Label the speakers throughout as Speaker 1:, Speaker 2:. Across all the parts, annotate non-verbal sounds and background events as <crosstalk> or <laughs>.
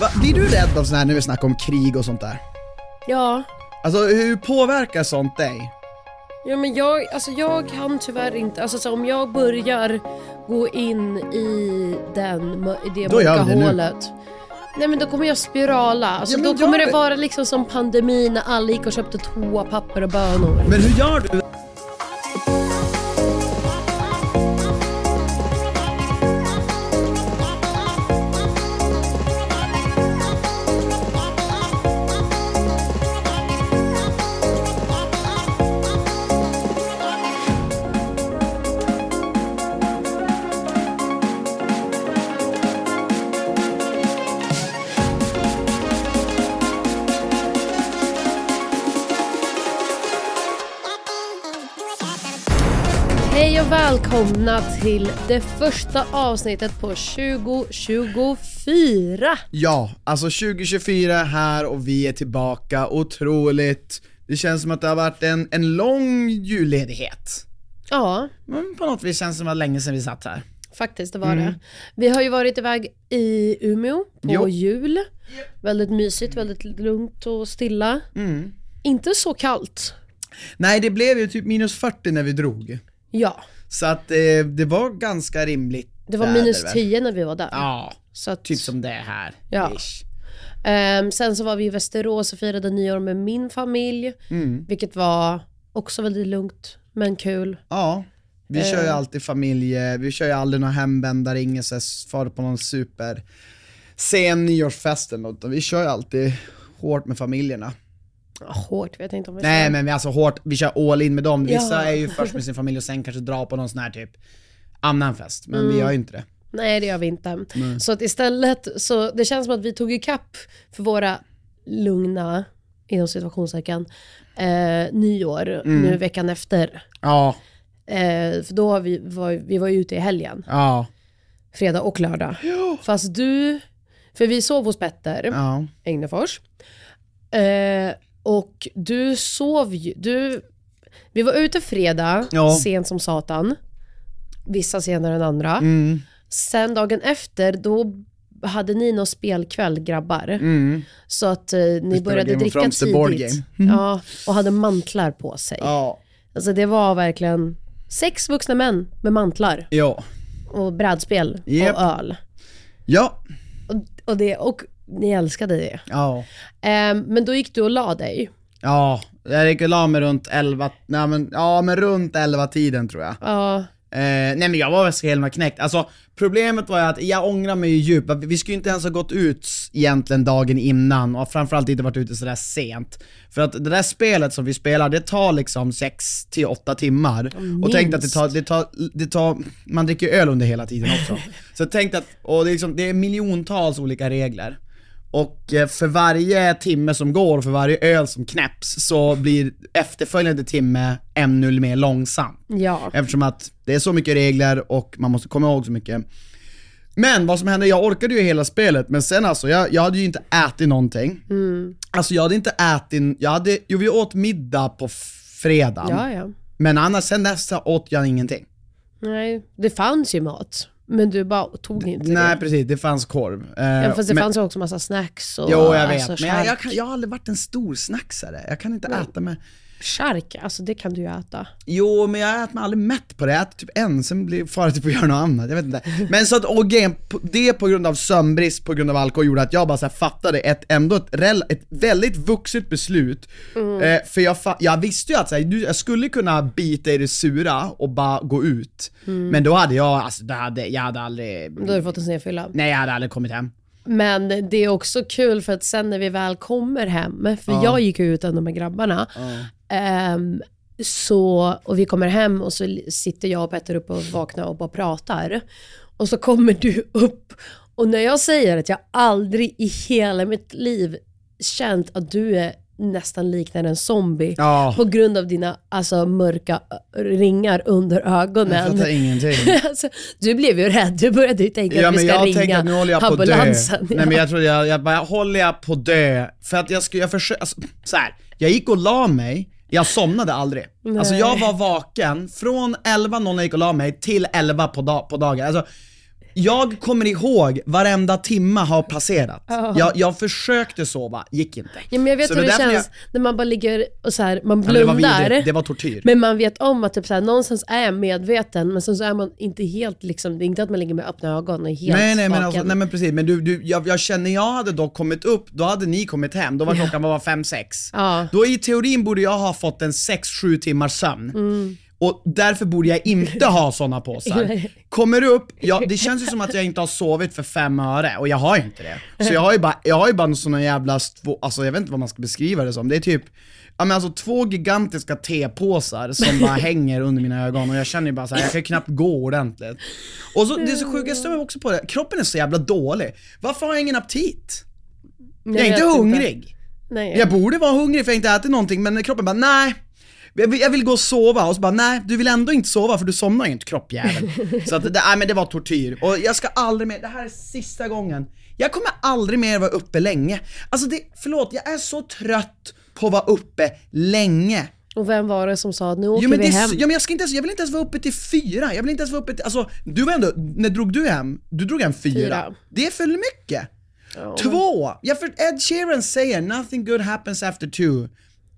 Speaker 1: Va, blir du rädd av sån här, nu är det snack om krig och sånt där?
Speaker 2: Ja,
Speaker 1: Alltså hur påverkar sånt dig?
Speaker 2: ja men jag, alltså jag kan tyvärr inte, alltså så om jag börjar gå in i den, mö- i det
Speaker 1: Då gör
Speaker 2: mörka
Speaker 1: vi det nu.
Speaker 2: hålet. Nej men då kommer jag spirala, alltså
Speaker 1: Ja, men
Speaker 2: då
Speaker 1: gör
Speaker 2: kommer det
Speaker 1: det.
Speaker 2: vara liksom som pandemin när alla gick och köpte toapapper och bönor.
Speaker 1: Men hur gör du?
Speaker 2: Hej och välkomna till det första avsnittet på 2024.
Speaker 1: Ja, alltså 2024 är här och vi är tillbaka, otroligt. Det känns som att det har varit en, en lång julledighet.
Speaker 2: Ja,
Speaker 1: Men på något vis känns det som att det var länge sedan vi satt här.
Speaker 2: Faktiskt, det var
Speaker 1: Mm.
Speaker 2: det. Vi har ju varit iväg i Umeå på
Speaker 1: Jo.
Speaker 2: jul. Väldigt mysigt, väldigt lugnt och stilla.
Speaker 1: Mm.
Speaker 2: Inte så kallt.
Speaker 1: Nej, det blev ju typ minus 40 när vi drog.
Speaker 2: Ja,
Speaker 1: Så att eh, det var ganska rimligt
Speaker 2: det var
Speaker 1: väder,
Speaker 2: minus
Speaker 1: väl?
Speaker 2: 10 när vi var där.
Speaker 1: Ja,
Speaker 2: Så att,
Speaker 1: typ som det är här.
Speaker 2: Ja.
Speaker 1: Ish.
Speaker 2: Ehm, sen så var vi i Västerås och firade nyår med min familj,
Speaker 1: Mm.
Speaker 2: vilket var också väldigt lugnt men kul.
Speaker 1: Ja, vi kör
Speaker 2: Eh.
Speaker 1: ju alltid familje, vi kör ju aldrig några hemvändare, ingen så här far på någon super sen nyårsfest eller något, utan vi kör ju alltid hårt med familjerna.
Speaker 2: Ja, Hårt vet jag inte om vi
Speaker 1: Nej
Speaker 2: sa.
Speaker 1: men vi alltså hårt, vi kör all in med dem. Vissa
Speaker 2: Ja.
Speaker 1: är ju först med sin familj och sen kanske drar på någon sån här typ annan fest, men
Speaker 2: Mm.
Speaker 1: vi gör ju inte det.
Speaker 2: Nej, det gör vi inte. Så att istället, så det känns som att vi tog ikapp för våra lugna, inom situationstecken, eh, nyår nu veckan efter.
Speaker 1: Ja,
Speaker 2: Eh, för då har vi, var, vi var ju ute i helgen,
Speaker 1: ja,
Speaker 2: fredag och lördag. Fast du, för vi sov hos Petter
Speaker 1: ja.
Speaker 2: Egnefors. Eh, och du sov ju, du, vi var ute fredag,
Speaker 1: Ja.
Speaker 2: sent som satan. Vissa senare än andra.
Speaker 1: Mm,
Speaker 2: Sen dagen efter, då hade ni någon spelkväll grabbar.
Speaker 1: mm.
Speaker 2: Så att eh, ni började
Speaker 1: Game of
Speaker 2: dricka
Speaker 1: Thrones, the board
Speaker 2: tidigt.
Speaker 1: game. Mm.
Speaker 2: Ja, och hade mantlar på sig.
Speaker 1: Ja,
Speaker 2: Alltså det var verkligen sex vuxna män med mantlar
Speaker 1: ja,
Speaker 2: och brädspel
Speaker 1: Japp.
Speaker 2: och öl.
Speaker 1: ja,
Speaker 2: Och, och, det, och ni älskade det.
Speaker 1: ja.
Speaker 2: Ehm, men då gick du och la dig.
Speaker 1: Ja, jag gick och la mig runt 11, nej men, ja men runt 11 tiden tror jag.
Speaker 2: Ja,
Speaker 1: Eh, nej men jag var väl så himla knäckt. Alltså problemet var ju att jag ångrar mig ju djupt. Vi skulle ju inte ens ha gått ut s- egentligen dagen innan och framförallt inte varit ute sådär sent. För att det där spelet som vi spelar, det tar liksom 6 till 8 timmar. Och tänk att det tar, det tar, det tar, man dricker ju öl under hela tiden också. så tänk att, och det är, liksom, det är miljontals olika regler. Och eh, för varje timme som går, och för varje öl som knäpps, så blir efterföljande timme ännu mer långsam.
Speaker 2: ja.
Speaker 1: Eftersom att det är så mycket regler och man måste komma ihåg så mycket. Men vad som hände, jag orkade ju hela spelet men sen alltså, jag, jag hade ju inte ätit någonting.
Speaker 2: Mm.
Speaker 1: Alltså jag hade inte ätit, jag hade, jo vi åt middag på fredagen.
Speaker 2: ja, ja.
Speaker 1: Men annars, sen dess åt jag ingenting.
Speaker 2: Nej, det fanns ju mat. Men du bara tog inte
Speaker 1: Nej
Speaker 2: det.
Speaker 1: precis, det fanns korv. Eh,
Speaker 2: Ja, fast det
Speaker 1: men-
Speaker 2: fanns ju också massa snacks och
Speaker 1: Jo jag vet,
Speaker 2: alltså,
Speaker 1: men jag, jag,
Speaker 2: chark.
Speaker 1: kan, jag har aldrig varit en stor snacksare. Jag kan inte äta med...
Speaker 2: Chark, alltså det kan du ju äta.
Speaker 1: Jo, men jag äter mig aldrig mätt på det. Jag äter typ en, sen blir fara typ att göra något annat. Jag vet inte. Men så att, och grejen, på- det på grund av sömnbrist, på grund av alkohol, gjorde att jag bara så här fattade ett, ändå ett, rel- ett väldigt vuxet beslut. Eh, för jag, fa- jag visste ju att så här, du- jag skulle kunna bita i det sura och bara gå ut. Men då hade jag, alltså då hade, jag hade aldrig,
Speaker 2: Då har du fått en snedfylla.
Speaker 1: nej jag hade aldrig kommit hem.
Speaker 2: Men det är också kul för att sen när vi väl kommer hem, för jag gick ju ut ändå med grabbarna, ehm, så, och vi kommer hem och så li- sitter jag och Petter uppe och vaknar och bara pratar. Och så kommer du upp och när jag säger att jag aldrig i hela mitt liv känt att du är nästan liknar en zombie
Speaker 1: Ja.
Speaker 2: på grund av dina alltså, mörka ö- ringar under
Speaker 1: Jag
Speaker 2: ögonen.
Speaker 1: fattar ingenting.
Speaker 2: <laughs> Alltså, du blev ju rädd, du började ju tänka
Speaker 1: Ja
Speaker 2: att vi
Speaker 1: men
Speaker 2: ska
Speaker 1: jag tänkte
Speaker 2: ringa
Speaker 1: att nu håller jag på att dö.
Speaker 2: ambulansen.
Speaker 1: Nej men
Speaker 2: <laughs>
Speaker 1: jag trodde jag, jag bara, håller jag på att dö? För att jag skulle, jag försökte, alltså, så här, jag gick och la mig, jag somnade aldrig. Alltså jag var vaken från 11 någon jag gick och la mig till 11 på, dag, på dagen. Alltså, jag kommer ihåg varenda timma har passerat. Jag, jag försökte sova, gick inte.
Speaker 2: Ja, men jag vet
Speaker 1: Så
Speaker 2: hur det,
Speaker 1: är därför
Speaker 2: känns när man bara ligger och så här, man
Speaker 1: Ja, det var
Speaker 2: blundar.
Speaker 1: vidrigt. Det var tortyr.
Speaker 2: Men man vet om att typ så här, någonstans är jag medveten, men sen så är man inte helt liksom, det är inte att man ligger med öppna ögon och är helt
Speaker 1: Nej, nej, men
Speaker 2: vaken.
Speaker 1: alltså, nej men precis, men du, du, jag, jag känner jag hade då kommit upp, då hade ni kommit hem, då var klockan bara fem sex
Speaker 2: Ja.
Speaker 1: Då i teorin borde jag ha fått en sex sju timmars sömn. Och därför borde jag inte ha såna <laughs> påsar. Kommer upp, ja, det känns ju som att jag inte har sovit för fem öre och jag har ju inte det. Så jag har ju bara, jag har ju bara såna jävla, två, alltså jag vet inte vad man ska beskriva det som. Det är typ, ja men alltså två gigantiska tepåsar som <laughs> bara hänger under mina ögon och jag känner ju bara så här, jag kan ju knappt gå ordentligt. Och så, det är så sjukt, jag stämmer också på det, kroppen är så jävla dålig. Varför har jag ingen aptit? Jag, är
Speaker 2: vet
Speaker 1: inte hungrig.
Speaker 2: Nej.
Speaker 1: Jag borde vara hungrig för jag har inte ätit någonting men kroppen bara nej. Jag vill, jag vill gå och sova och så bara nej, du vill ändå inte sova för du somnar ju inte kroppjävel. så att, det- nej men det var tortyr. Och jag ska aldrig mer, det här är sista gången. Jag kommer aldrig mer vara uppe länge. Alltså det, förlåt, jag är så trött på att vara uppe länge.
Speaker 2: Och vem var det som sa att nu åker
Speaker 1: Jo, men
Speaker 2: vi
Speaker 1: det, är
Speaker 2: hem?
Speaker 1: så- ja, men jag, ska inte ens, jag vill inte ens vara uppe till fyra, jag vill inte ens vara uppe till, alltså, du var ändå, när drog du hem? Du drog hem fyra.
Speaker 2: Fyra.
Speaker 1: Det är för mycket. Två! Jag för, Ed Sheeran säger 'nothing good happens after two'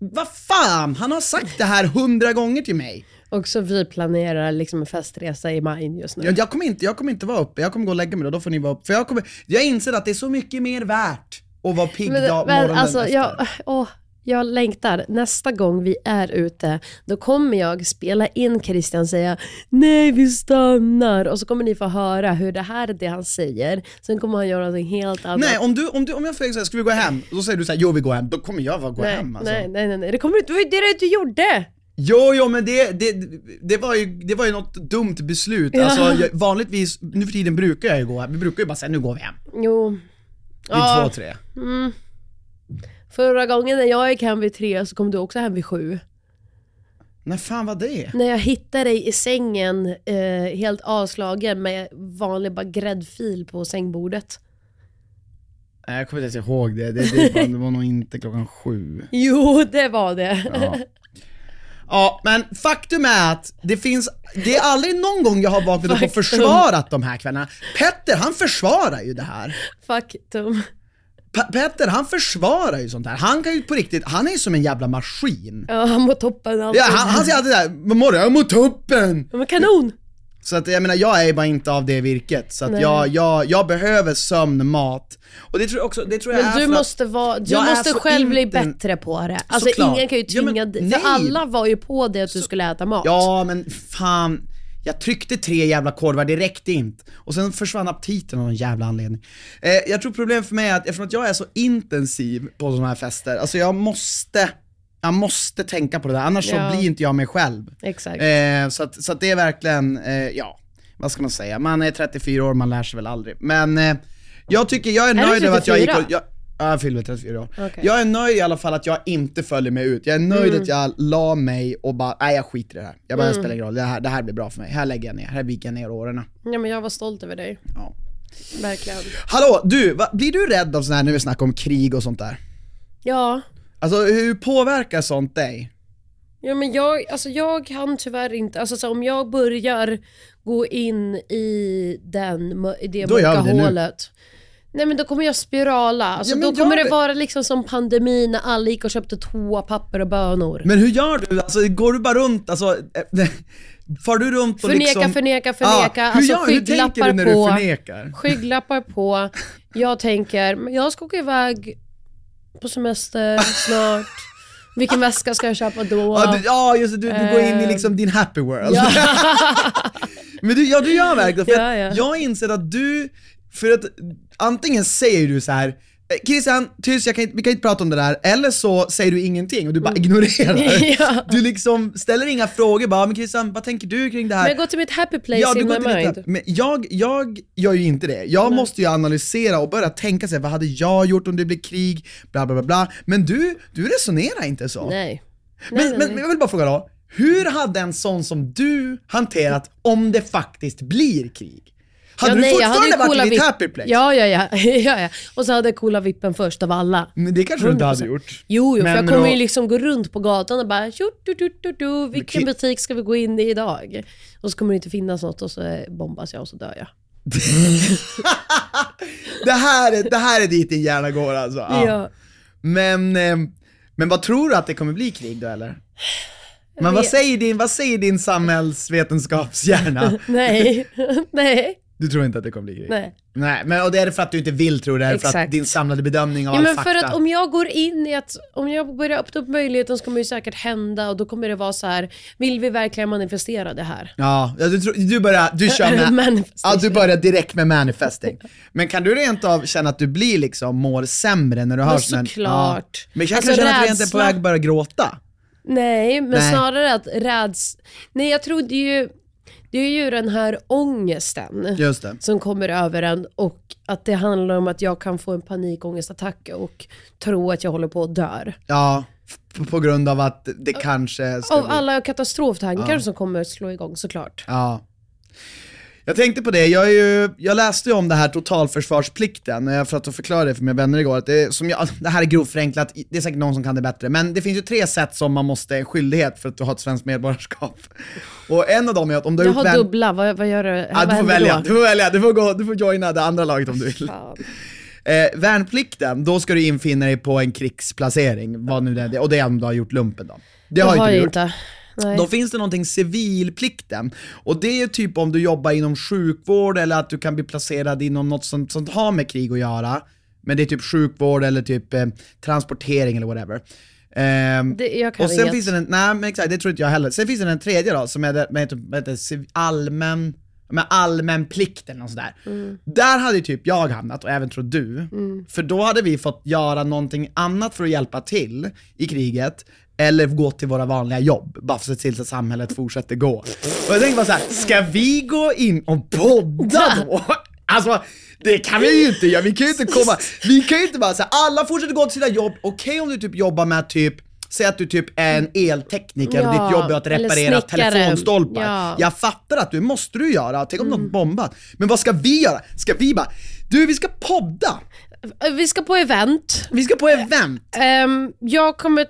Speaker 1: Vad fan, han har sagt det här hundra gånger till mig.
Speaker 2: Och så vi planerar liksom en festresa i maj just nu.
Speaker 1: Jag, jag, kommer inte, jag kommer inte vara uppe, jag kommer gå och lägga mig då, då får ni vara uppe. För jag, kommer, jag inser att det är så mycket mer värt att vara pigg
Speaker 2: Men,
Speaker 1: dag,
Speaker 2: men
Speaker 1: morgonen
Speaker 2: alltså,
Speaker 1: efter.
Speaker 2: jag, åh, jag längtar. Nästa gång vi är ute, då kommer jag spela in Christian säga nej vi stannar och så kommer ni få höra hur det här är det han säger. Sen kommer han göra någonting helt annat.
Speaker 1: Nej, om, du, om, du, om jag frågar såhär, ska vi gå hem? Då säger du såhär, jo vi går hem. Då kommer jag bara gå
Speaker 2: nej,
Speaker 1: hem alltså.
Speaker 2: nej, nej, nej, nej, det kommer du inte, det var ju det du gjorde!
Speaker 1: Jo, jo men det, det, det, var ju, det var ju något dumt beslut. Alltså, jag, vanligtvis, nu för tiden brukar jag ju gå hem. Vi brukar ju bara säga nu går vi hem.
Speaker 2: Jo,
Speaker 1: Vid två, tre.
Speaker 2: förra gången när jag gick hem vid tre så kom du också hem vid sju.
Speaker 1: När fan var det?
Speaker 2: När jag hittade dig i sängen eh, helt avslagen med vanlig bara gräddfil på sängbordet.
Speaker 1: Nej, jag kommer inte ens ihåg det. Det, det, det var nog inte klockan sju.
Speaker 2: Jo, det var det. <laughs>
Speaker 1: Ja. Ja, men faktum är att det finns, det är aldrig någon gång jag har vaknat upp och
Speaker 2: Faktum.
Speaker 1: försvarat de här kvällarna. Petter, han försvarar ju det här.
Speaker 2: Faktum.
Speaker 1: Pe- Petter, han försvarar ju sånt här. Han kan ju på riktigt, han är ju som en jävla maskin.
Speaker 2: Ja, han mår toppen alltid.
Speaker 1: Ja, han, han säger alltid såhär, vad mår du? Jag mår toppen!
Speaker 2: Ja, men kanon!
Speaker 1: Så att jag menar, jag är bara inte av det virket. Så att jag, jag, jag behöver sömn, mat. Och det tror jag också, det tror jag är
Speaker 2: Men du
Speaker 1: för att-
Speaker 2: måste, vara, du
Speaker 1: alltså, Jag är
Speaker 2: måste
Speaker 1: så
Speaker 2: själv bli
Speaker 1: inte-
Speaker 2: bättre på det. Alltså
Speaker 1: Såklart.
Speaker 2: ingen kan ju
Speaker 1: Ja, men
Speaker 2: tvinga dig.
Speaker 1: nej.
Speaker 2: För alla var ju på det att du skulle äta mat.
Speaker 1: Ja men fan, jag tryckte tre jävla korvar, det räckte inte. Och sen försvann aptiten av någon jävla anledning. Eh, jag tror problemet för mig är att eftersom att jag är så intensiv på sådana här fester, alltså jag måste, jag måste tänka på det där, annars
Speaker 2: Ja.
Speaker 1: så blir inte jag mig själv.
Speaker 2: Exakt.
Speaker 1: Eh, så, att, så att det är verkligen, eh, ja, vad ska man säga? Man är 34 år, man lär sig väl aldrig. Men eh, jag tycker, jag är,
Speaker 2: du
Speaker 1: nöjd över att jag gick och,
Speaker 2: 34?
Speaker 1: jag, ja, jag fyllde 34 år.
Speaker 2: Okej. Mm.
Speaker 1: Jag är nöjd i alla fall att jag inte följer mig ut. Jag är nöjd att jag la mig och bara, nej jag skiter i det här. Jag bara, jag spelar ingen roll, det här, det här blir bra för mig. Här lägger jag ner, här viker jag ner åren.
Speaker 2: Ja, men jag var stolt över dig.
Speaker 1: Ja.
Speaker 2: Verkligen.
Speaker 1: Hallå, du, va, blir du rädd av sån här, när vi snackar om krig och sånt där?
Speaker 2: Ja.
Speaker 1: Alltså hur påverkar sånt dig?
Speaker 2: Ja men jag, alltså jag hann tyvärr inte, alltså så om jag börjar gå in i den, mö- i det
Speaker 1: Då gör
Speaker 2: mörka
Speaker 1: vi det nu.
Speaker 2: hålet Nej men då kommer jag spirala. Alltså,
Speaker 1: Ja, men
Speaker 2: då
Speaker 1: gör
Speaker 2: kommer det
Speaker 1: det.
Speaker 2: vara liksom som pandemin när alla gick och köpte toapapper och bönor.
Speaker 1: Men hur gör du? Alltså, går du bara runt? Alltså, eh, <laughs> far du runt och
Speaker 2: Förneka,
Speaker 1: liksom...
Speaker 2: förneka, förneka.
Speaker 1: Ja, hur,
Speaker 2: Alltså,
Speaker 1: gör, hur tänker du
Speaker 2: skygglappar
Speaker 1: när
Speaker 2: på.
Speaker 1: du förnekar?
Speaker 2: Skygglappar på. Jag tänker, men jag ska åka iväg på semester snart. Vilken väska ska jag köpa då?
Speaker 1: Ja, du, ja just det, du, du går in i liksom
Speaker 2: Eh.
Speaker 1: din happy world. <laughs> Men du, ja, du gör verkligen för
Speaker 2: Ja, ja.
Speaker 1: Att jag inser att du, för att antingen säger du så här "Eh, Christian, tyst, jag kan, inte- vi kan inte prata om det där. Eller så säger du ingenting och du bara ignorerar.
Speaker 2: Mm. <laughs> Ja.
Speaker 1: Du liksom ställer inga frågor bara, men Christian, vad tänker du kring det här?
Speaker 2: Men jag går till mitt happy place
Speaker 1: du
Speaker 2: in
Speaker 1: går
Speaker 2: my
Speaker 1: till ditt-
Speaker 2: mind.
Speaker 1: Men jag, jag gör ju inte det. Jag måste ju analysera och börja tänka sig vad hade jag gjort om det blev krig? Bla, bla, bla, bla. Men du, du resonerar inte så.
Speaker 2: Nej.
Speaker 1: Men,
Speaker 2: nej,
Speaker 1: men,
Speaker 2: nej.
Speaker 1: men jag vill bara fråga då, hur hade en sån som du hanterat om det faktiskt blir krig? Hade du
Speaker 2: jag
Speaker 1: fortfarande
Speaker 2: ju
Speaker 1: varit i ditt
Speaker 2: vipp-
Speaker 1: happy place?
Speaker 2: Ja, ja, ja, <laughs> ja, ja. Och så hade jag coola vippen först av alla.
Speaker 1: Men det kanske du inte hade
Speaker 2: 100%.
Speaker 1: gjort?
Speaker 2: Jo, jo för
Speaker 1: Men
Speaker 2: jag kommer
Speaker 1: då-
Speaker 2: ju liksom gå runt på gatan och bara tjo, du, du, du, du, vilken
Speaker 1: ki-
Speaker 2: butik ska vi gå in i idag? Och så kommer det inte finnas något och så eh, bombas jag och så dör jag.
Speaker 1: <laughs> Det här, är- det här är dit din hjärna går alltså? Ja.
Speaker 2: Ja.
Speaker 1: Men, ehm, men vad tror du att det kommer bli krig då eller? Men vad
Speaker 2: vet-
Speaker 1: säger, din, vad säger din
Speaker 2: <laughs>
Speaker 1: samhällsvetenskapshjärna?
Speaker 2: Nej, nej,
Speaker 1: Du tror inte att det kommer bli krig?
Speaker 2: nej.
Speaker 1: Nej, men och det är för att du inte vill tro det, det är för att
Speaker 2: Exakt.
Speaker 1: din samlade bedömning av
Speaker 2: Ja,
Speaker 1: all
Speaker 2: men
Speaker 1: fakta.
Speaker 2: för att om jag går in i att, om jag börjar öppna upp möjligheten så kommer det säkert hända och då kommer det vara så här, vill vi verkligen manifestera det här?
Speaker 1: Ja, ja, du, tror- du börjar, du
Speaker 2: <laughs>
Speaker 1: kör med, ja,
Speaker 2: Manifestation.
Speaker 1: du börjar direkt med manifesting. Men kan du rent av känna att du blir liksom, mår sämre när du hör sån här-
Speaker 2: såklart.
Speaker 1: Ja. Men jag kan
Speaker 2: Alltså,
Speaker 1: känna att du rent är på
Speaker 2: rädsla.
Speaker 1: väg att börja gråta.
Speaker 2: Nej, men
Speaker 1: Nej.
Speaker 2: snarare att räds... Nej, jag trodde ju... Det är ju den här ångesten
Speaker 1: Just det.
Speaker 2: som kommer över en och att det handlar om att jag kan få en panikångestattack och tro att jag håller på att dö.
Speaker 1: Ja, f- på grund av att det kanske ska
Speaker 2: Av
Speaker 1: bli...
Speaker 2: alla katastroftankar som kommer slå igång såklart.
Speaker 1: Ja. Jag tänkte på det, jag, är ju, jag läste ju om det här totalförsvarsplikten, eh, för att förklara det för mina vänner igår. Att det, är- som jag, <laughs> det här är grovt förenklat, det är säkert någon som kan det bättre, men det finns ju tre sätt som man måste, en skyldighet för att du har ett svenskt medborgarskap. Och en av dem är att om du
Speaker 2: Jag
Speaker 1: har gjort
Speaker 2: har
Speaker 1: vän-
Speaker 2: dubbla, vad, vad gör du?
Speaker 1: Ja,
Speaker 2: vad
Speaker 1: du får
Speaker 2: händer
Speaker 1: välja,
Speaker 2: då?
Speaker 1: du får välja, du får, gå, du får joina det andra laget om du
Speaker 2: <laughs>
Speaker 1: vill.
Speaker 2: Fan.
Speaker 1: Eh, värnplikten, då ska du infinna dig på en krigsplacering, vad nu det är, och det är om du har gjort lumpen då. Det
Speaker 2: Jag
Speaker 1: har,
Speaker 2: har
Speaker 1: inte du
Speaker 2: ju
Speaker 1: gjort.
Speaker 2: inte. Nej.
Speaker 1: Då finns det någonting civilplikten. Och det är typ om du jobbar inom sjukvård eller att du kan bli placerad inom något som, som har med krig att göra. Men det är typ sjukvård eller typ eh, transportering eller whatever. Ehm,
Speaker 2: Det- jag kan
Speaker 1: och sen
Speaker 2: inget.
Speaker 1: finns det en, nej men exakt, det tror inte jag heller. Sen finns det en tredje då som är det, med, typ, med, med allmän, med allmän plikt eller något sådär.
Speaker 2: Mm.
Speaker 1: Där hade ju typ jag hamnat och även tror du. För då hade vi fått göra någonting annat för att hjälpa till i kriget. Eller gå till våra vanliga jobb, bara för att se till att samhället fortsätter gå. Och jag tänkte bara såhär, ska vi gå in och podda då? <laughs> Alltså, det kan vi ju inte göra, vi kan ju inte komma, vi kan ju inte bara säga alla fortsätter gå till sina jobb, okej om du typ jobbar med typ Säg att du typ är en eltekniker och
Speaker 2: Ja,
Speaker 1: ditt jobb är att
Speaker 2: eller
Speaker 1: reparera
Speaker 2: snickare.
Speaker 1: telefonstolpar.
Speaker 2: Ja. Mm.
Speaker 1: Jag fattar att du måste du göra, tänk om någon bombat. Men vad ska vi göra? Ska vi bara, du vi ska podda!
Speaker 2: Vi ska på event.
Speaker 1: Vi ska på event!
Speaker 2: Ehm, jag kommer...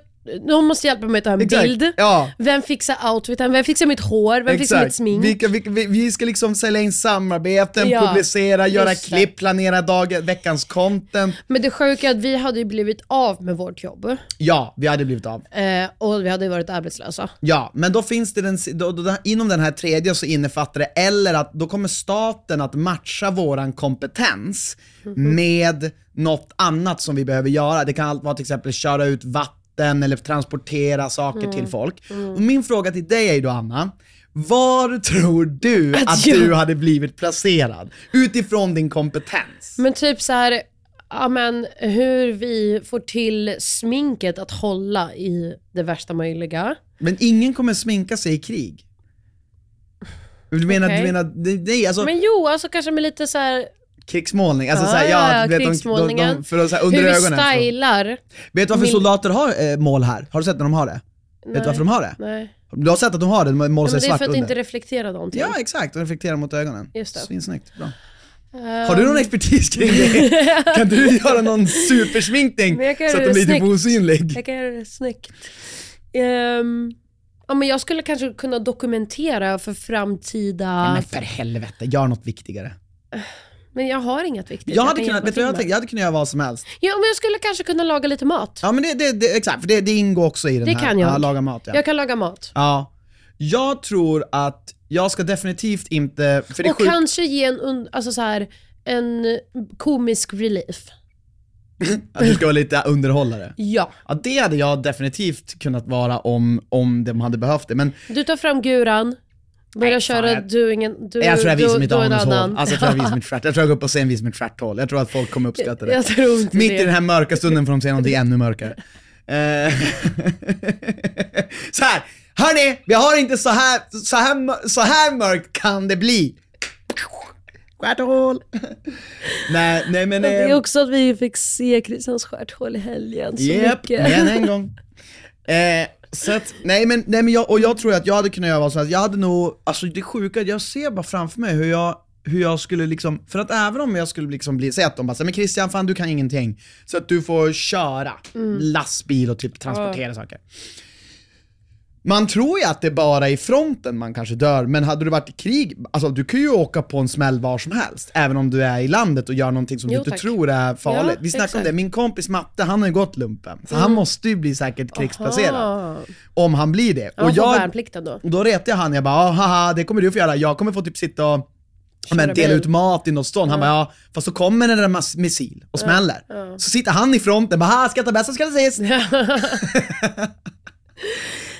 Speaker 2: Någon måste hjälpa mig att ta en
Speaker 1: Exakt,
Speaker 2: bild.
Speaker 1: ja.
Speaker 2: Vem fixar outfiten? Vem fixar mitt hår? Vem fixar mitt smink?
Speaker 1: Vi, kan- vi, vi, vi ska liksom sälja in samarbeten,
Speaker 2: Ja,
Speaker 1: publicera, göra
Speaker 2: just det.
Speaker 1: klipp, planera dagen, veckans content.
Speaker 2: Men det sjuka är att vi hade ju blivit av med vårt jobb
Speaker 1: Ja, vi hade blivit av.
Speaker 2: eh, och vi hade ju varit arbetslösa.
Speaker 1: Ja, men då finns det den, då, då, inom den här tredje så innefattar det, eller att då kommer staten att matcha våran kompetens med något annat som vi behöver göra. Det kan allt vara till exempel köra ut vatten eller transportera saker till
Speaker 2: Mm.
Speaker 1: folk. Och min fråga till dig är ju då Anna, var tror du att,
Speaker 2: jag-
Speaker 1: du hade blivit placerad utifrån din kompetens?
Speaker 2: Men typ så här, ja men hur vi får till sminket att hålla i det värsta möjliga.
Speaker 1: Men ingen kommer sminka sig i krig. Du menar,
Speaker 2: Okej.
Speaker 1: du menar, nej alltså...
Speaker 2: Men jo, alltså kanske med lite så här,
Speaker 1: Krigsmålning, alltså
Speaker 2: Ja,
Speaker 1: såhär,
Speaker 2: Ah, ja,
Speaker 1: ja,
Speaker 2: ja,
Speaker 1: du vet, de, de,
Speaker 2: krigsmålningen.
Speaker 1: de, för att såhär, under
Speaker 2: hur vi
Speaker 1: ögonen. Så.
Speaker 2: stylar.
Speaker 1: Vet du varför
Speaker 2: Min-
Speaker 1: soldater har eh, mål här? Har du sett när de har det? Vet
Speaker 2: Nej.
Speaker 1: du varför de har det?
Speaker 2: Nej.
Speaker 1: Du har sett att de har det, de har mål
Speaker 2: Ja,
Speaker 1: sig
Speaker 2: men det är
Speaker 1: svart
Speaker 2: för att
Speaker 1: under.
Speaker 2: inte reflektera någonting.
Speaker 1: Ja exakt, och reflekterar mot ögonen.
Speaker 2: Just det. Eh,
Speaker 1: Svinsnyggt, bra. Har du någon expertis kring
Speaker 2: <laughs>
Speaker 1: det? kan du göra någon supersminkning
Speaker 2: Men jag kan
Speaker 1: så att de
Speaker 2: göra
Speaker 1: blir typ
Speaker 2: snyggt.
Speaker 1: osynlig?
Speaker 2: Jag kan göra det snyggt. Ehm, ja, men jag skulle kanske kunna dokumentera för framtida...
Speaker 1: Men för helvete, gör något viktigare.
Speaker 2: Men jag har inget viktigt.
Speaker 1: Jag hade
Speaker 2: kan
Speaker 1: kunnat,
Speaker 2: jobba
Speaker 1: vet du vad jag
Speaker 2: timmar.
Speaker 1: tänkte? Jag hade kunnat göra vad som helst.
Speaker 2: Ja, men jag skulle kanske kunna laga lite mat.
Speaker 1: Ja men det, det, det exakt, för det, det ingår också i den
Speaker 2: Det
Speaker 1: här,
Speaker 2: kan jag.
Speaker 1: Ja, laga mat ja.
Speaker 2: Jag kan laga mat.
Speaker 1: ja. Jag tror att jag ska definitivt inte, för det är
Speaker 2: Och
Speaker 1: sjukt.
Speaker 2: kanske ge en, und- alltså så här, en komisk relief.
Speaker 1: att du ska vara lite underhållare.
Speaker 2: Ja.
Speaker 1: Ja det hade jag definitivt kunnat vara om, om de hade behövt det, men
Speaker 2: Du tar fram guran, börjar
Speaker 1: Nej, fan,
Speaker 2: köra
Speaker 1: jag-
Speaker 2: du ingen, du,
Speaker 1: jag tror jag
Speaker 2: du,
Speaker 1: visar mitt
Speaker 2: du en annan.
Speaker 1: anushål. Alltså jag tror jag visar
Speaker 2: <laughs>
Speaker 1: mitt stjärt. Jag tror jag går upp och säger en vis mitt stjärthål. Jag tror att folk kommer uppskatta det.
Speaker 2: Jag tror inte
Speaker 1: Mitt
Speaker 2: det.
Speaker 1: i den här mörka stunden får de säga någonting ännu mörkare. Eh, <laughs> så här, hörni, vi har inte så här, så här, mör- så här mörkt kan det bli. Stjärthål. <laughs> nej, nej men...
Speaker 2: Men det
Speaker 1: eh,
Speaker 2: är också att vi fick se Christians stjärthål i helgen så
Speaker 1: Japp,
Speaker 2: mycket. <laughs>
Speaker 1: men en gång. Eh, så att, nej men, nej, men jag, och jag tror att jag hade kunnat göra vad som helst. Jag hade nog, alltså det sjuka, jag ser bara framför mig hur jag, hur jag skulle liksom, för att även om jag skulle liksom bli, säg att de bara säger men Christian fan du kan ingenting, så att du får köra
Speaker 2: Mm.
Speaker 1: lastbil och typ transportera saker. Man tror ju att det bara är i fronten man kanske dör, men hade du varit i krig, alltså du kan ju åka på en smäll var som helst, även om du är i landet och gör någonting som du
Speaker 2: Jo,
Speaker 1: inte
Speaker 2: tack.
Speaker 1: tror är farligt.
Speaker 2: Ja,
Speaker 1: Vi snackade om
Speaker 2: exakt.
Speaker 1: det, min kompis Matte, han har ju gått lumpen. Så
Speaker 2: Mm.
Speaker 1: han måste ju bli säkert krigsplacerad. Om han blir det.
Speaker 2: Ja,
Speaker 1: och
Speaker 2: och
Speaker 1: jag,
Speaker 2: värnplikten då.
Speaker 1: och då retade jag han, jag bara "Ah, haha det kommer du få göra, jag kommer få typ sitta och ja, men,
Speaker 2: Köra
Speaker 1: dela
Speaker 2: bil.
Speaker 1: ut mat i något stånd. Han bara ja, fast så kommer den där mass- missil och smäller. Så sitter han i fronten, bara "Ah, skratta bäst så skratta sist. <laughs>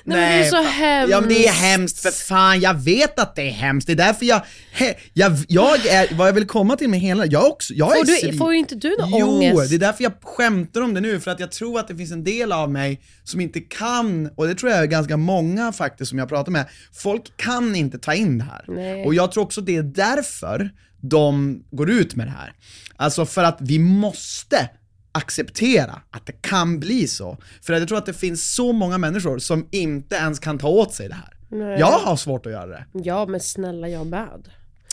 Speaker 1: Nej,
Speaker 2: Nej, men det är så hemskt.
Speaker 1: Ja men det är hemskt för fan, jag vet att det är hemskt. Det är därför jag, he, jag, jag är, vad jag vill komma till med hela, jag också, jag är
Speaker 2: Får, du,
Speaker 1: civil.
Speaker 2: får ju inte du någon
Speaker 1: Jo,
Speaker 2: ångest?
Speaker 1: det är därför jag skämtar om det nu, för att jag tror att det finns en del av mig som inte kan, och det tror jag är ganska många faktiskt som jag pratar med, folk kan inte ta in det här.
Speaker 2: Nej.
Speaker 1: Och jag tror också det är därför de går ut med det här. Alltså för att vi måste acceptera att det kan bli så. För att jag tror att det finns så många människor som inte ens kan ta åt sig det här. Jag har svårt att göra det.
Speaker 2: Ja, men snälla jag med.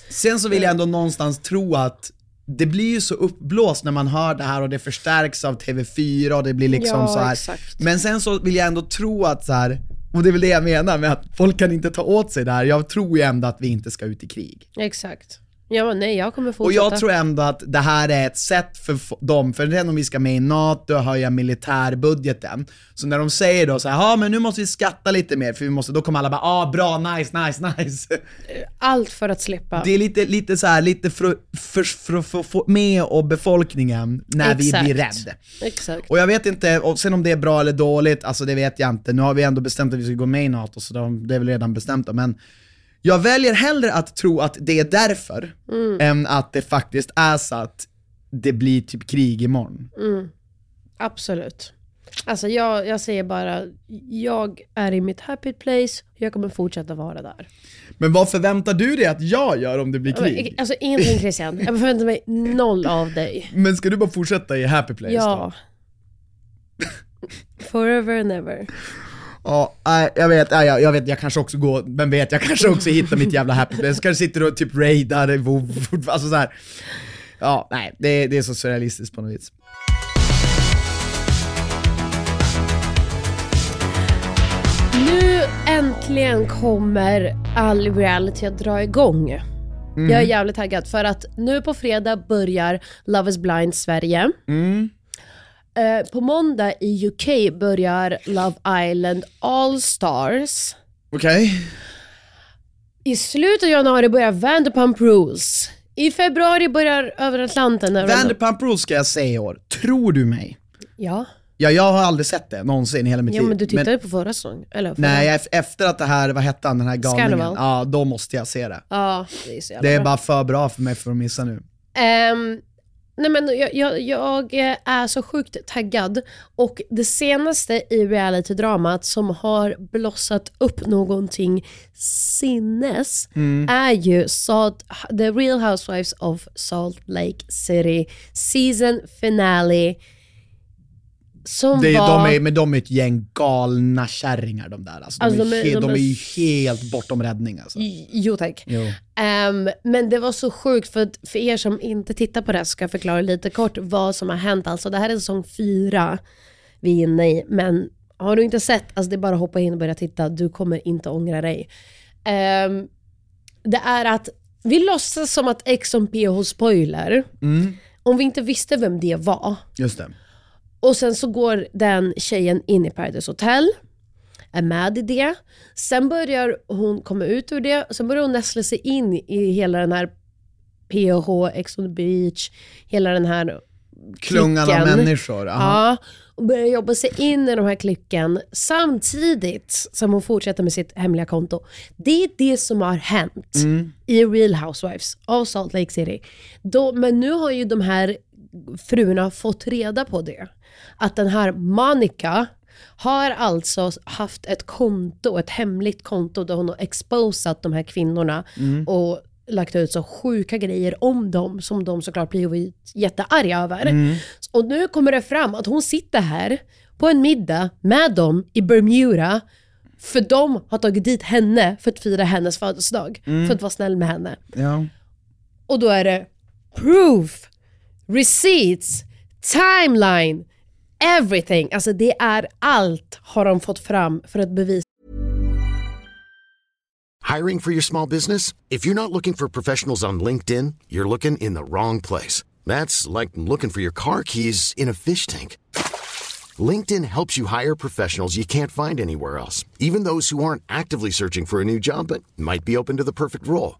Speaker 1: Sen så vill
Speaker 2: Mm.
Speaker 1: jag ändå någonstans tro att det blir ju så uppblåst när man hör det här och det förstärks av TV4 och det blir liksom
Speaker 2: Ja,
Speaker 1: så här.
Speaker 2: exakt.
Speaker 1: Men sen så vill jag ändå tro att så här, och det är väl det jag menar med att folk kan inte ta åt sig det här. Jag tror ju ändå att vi inte ska ut i krig.
Speaker 2: Exakt. Ja, men nej, jag kommer
Speaker 1: Och
Speaker 2: fortsätta.
Speaker 1: jag tror ändå att det här är ett sätt för f- dem, för redan om vi ska med i NATO och höja militärbudgeten, så när de säger då så här, ja men nu måste vi skatta lite mer för vi måste, då kommer alla bara, ah bra, nice, nice, <laughs> nice.
Speaker 2: Allt för att slippa.
Speaker 1: Det är lite, lite så här, lite för, för, för, för, få med och befolkningen när vi blir
Speaker 2: Exakt.
Speaker 1: rädd.
Speaker 2: Exakt.
Speaker 1: Och jag vet inte, och sen om det är bra eller dåligt, alltså det vet jag inte. Nu har vi ändå bestämt att vi ska gå med i NATO, så de- det är väl redan bestämt då. Men jag väljer hellre att tro att det är därför,
Speaker 2: Mm.
Speaker 1: än att det faktiskt är så att det blir typ krig imorgon.
Speaker 2: Mm. Absolut. Alltså jag, jag säger bara, jag är i mitt happy place, jag kommer fortsätta vara där.
Speaker 1: Men vad förväntar du dig att jag gör om det blir krig?
Speaker 2: Alltså ingenting Christian, jag förväntar mig noll av dig.
Speaker 1: Men ska du bara fortsätta i happy place då?
Speaker 2: Ja.
Speaker 1: <laughs>
Speaker 2: Forever and ever.
Speaker 1: Ja, nej, jag vet, nej, jag, jag vet, jag kanske också går, vem vet, jag kanske också hittar mitt jävla happy place, kanske sitter och typ raidar, i WoW, alltså så här. Ja, nej, det, det är så surrealistiskt på något vis.
Speaker 2: Nu äntligen kommer all reality att dra igång. Jag
Speaker 1: Mm.
Speaker 2: är jävligt taggad för att nu på fredag börjar Love is blind Sverige.
Speaker 1: Mm.
Speaker 2: Eh, på måndag i UK börjar Love Island All Stars.
Speaker 1: Okej?
Speaker 2: I slutet av januari börjar Vanderpump Rules. I februari börjar Över Atlanten. Över-
Speaker 1: Vanderpump Rules ska jag säga i år, tror du mig?
Speaker 2: ja.
Speaker 1: Ja, jag har aldrig sett det någonsin i hela mitt
Speaker 2: ja,
Speaker 1: liv.
Speaker 2: men du tittade ju på förra säsongen. Eller förra.
Speaker 1: Nej, ef- efter att det här, vad hette han, den här galningen,
Speaker 2: Scandal.
Speaker 1: ja då måste jag se det.
Speaker 2: Ja, det är så jävla
Speaker 1: Det är
Speaker 2: bra.
Speaker 1: bara för bra för mig för att missa nu.
Speaker 2: Ehm, nej men jag, jag, jag är så sjukt taggad. Och det senaste i realitydramat som har blossat upp någonting sinnes
Speaker 1: Mm.
Speaker 2: är ju Salt, The Real Housewives of Salt Lake City season finale. Som
Speaker 1: Det är,
Speaker 2: var...
Speaker 1: de är, men de är ett gäng galna kärringar de där. Alltså, de,
Speaker 2: Alltså,
Speaker 1: är,
Speaker 2: de är-
Speaker 1: he- de,
Speaker 2: de
Speaker 1: är
Speaker 2: är-
Speaker 1: ju helt bortom räddning alltså.
Speaker 2: Jo tack. Ehm, men det var så sjukt, för, att- för er som inte tittar på det här ska jag förklara lite kort vad som har hänt. Alltså det här är säsong fyra vi är inne i, men har du inte sett, alltså det är bara att hoppa in och börja titta, du kommer inte ångra dig. Ehm, det är att Vi låtsas som att X on PH spoiler, om vi inte visste vem det var.
Speaker 1: Just det.
Speaker 2: Och sen så går den tjejen in i Paradise Hotel, är med i det. Sen börjar hon komma ut ur det, sen börjar hon nästla sig in i hela den här PH, Ex on the beach, hela den här
Speaker 1: Klungan av
Speaker 2: klicken.
Speaker 1: människor. Aha.
Speaker 2: Ja, och börjar jobba sig in i de här klicken samtidigt som hon fortsätter med sitt hemliga konto. Det är det som har hänt i Real Housewives av Salt Lake City. Då, men nu har ju de här fruarna fått reda på det. Att den här Monica har alltså haft ett konto, ett hemligt konto där hon har exposat de här kvinnorna och lagt ut så sjuka grejer om dem som de såklart blir jättearga över. Och nu kommer det fram att hon sitter här på en middag med dem i Bermuda för de har tagit dit henne för att fira hennes födelsedag,
Speaker 1: Mm.
Speaker 2: för att vara snäll med henne.
Speaker 1: Ja.
Speaker 2: Och då är det proof, receipts, timeline, everything. Alltså det är allt har de fått fram för att bevisa
Speaker 3: Hiring for your small business? If you're not looking for professionals on LinkedIn, you're looking in the wrong place. That's like looking for your car keys in a fish tank. LinkedIn helps you hire professionals you can't find anywhere else, even those who aren't actively searching for a new job but might be open to the perfect role.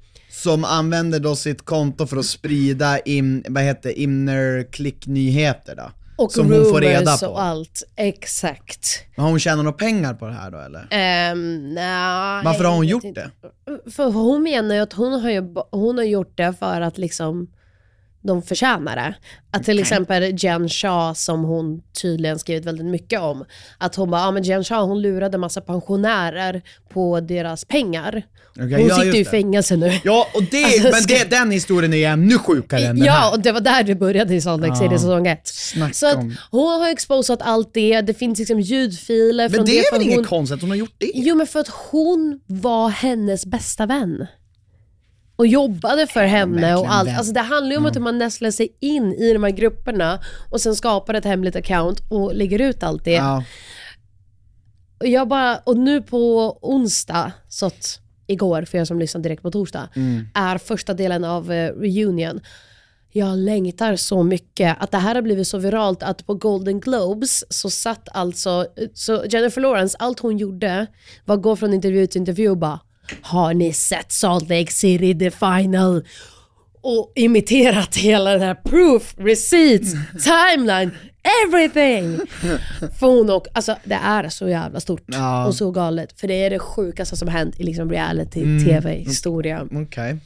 Speaker 1: Som använder då sitt konto för att sprida in, vad heter inner klicknyheter då?
Speaker 2: Och
Speaker 1: som
Speaker 2: rumors
Speaker 1: hon får reda på.
Speaker 2: och allt. Exakt.
Speaker 1: Har hon tjänat några pengar på det här då eller?
Speaker 2: Um, nej,
Speaker 1: Varför har hon
Speaker 2: jag
Speaker 1: gjort
Speaker 2: vet
Speaker 1: det?
Speaker 2: inte. För hon menar ju att hon har, ju, hon har gjort det för att liksom de förtjänar det. Att till exempel Jen Shah som hon tydligen skrivit väldigt mycket om. Att hon bara, ja men Jen Shah hon lurade massa pensionärer på deras pengar.
Speaker 1: Okej,
Speaker 2: hon
Speaker 1: ja,
Speaker 2: sitter ju i
Speaker 1: just det.
Speaker 2: fängelse nu. <laughs>
Speaker 1: Ja, och det,
Speaker 2: Alltså,
Speaker 1: men
Speaker 2: ska-
Speaker 1: det, den historien är ännu sjukare än den
Speaker 2: Ja,
Speaker 1: här.
Speaker 2: och det var där det började i Salt Lake City säsong ett.
Speaker 1: snacka
Speaker 2: Så att
Speaker 1: om-
Speaker 2: hon har exposat allt det, det finns liksom ljudfiler
Speaker 1: Men
Speaker 2: från
Speaker 1: det är
Speaker 2: för
Speaker 1: väl inget
Speaker 2: hon...
Speaker 1: konstigt att hon har gjort det?
Speaker 2: Jo men för att hon var hennes bästa vän. Och jobbade för henne och
Speaker 1: verkligen Mm.
Speaker 2: allt.
Speaker 1: vän.
Speaker 2: Alltså det handlar ju om att man nästlar sig in i de här grupperna och sen skapar ett hemligt account och lägger ut allt det.
Speaker 1: Ja.
Speaker 2: Och, jag bara, och nu på onsdag, så att igår för er som lyssnar direkt på torsdag, är första delen av eh, reunion. Jag längtar så mycket att det här har blivit så viralt att på Golden Globes så satt alltså, så Jennifer Lawrence, allt hon gjorde var att gå från intervju till intervju och bara “Har ni sett Salt Lake City the final?” och imiterat hela den här proof, receipts, timeline, everything. För hon och, alltså det är så jävla stort
Speaker 1: Ja.
Speaker 2: och så galet. För det är det sjukaste som hänt i liksom
Speaker 1: Mm.
Speaker 2: reality-tv-historia.
Speaker 1: Okej.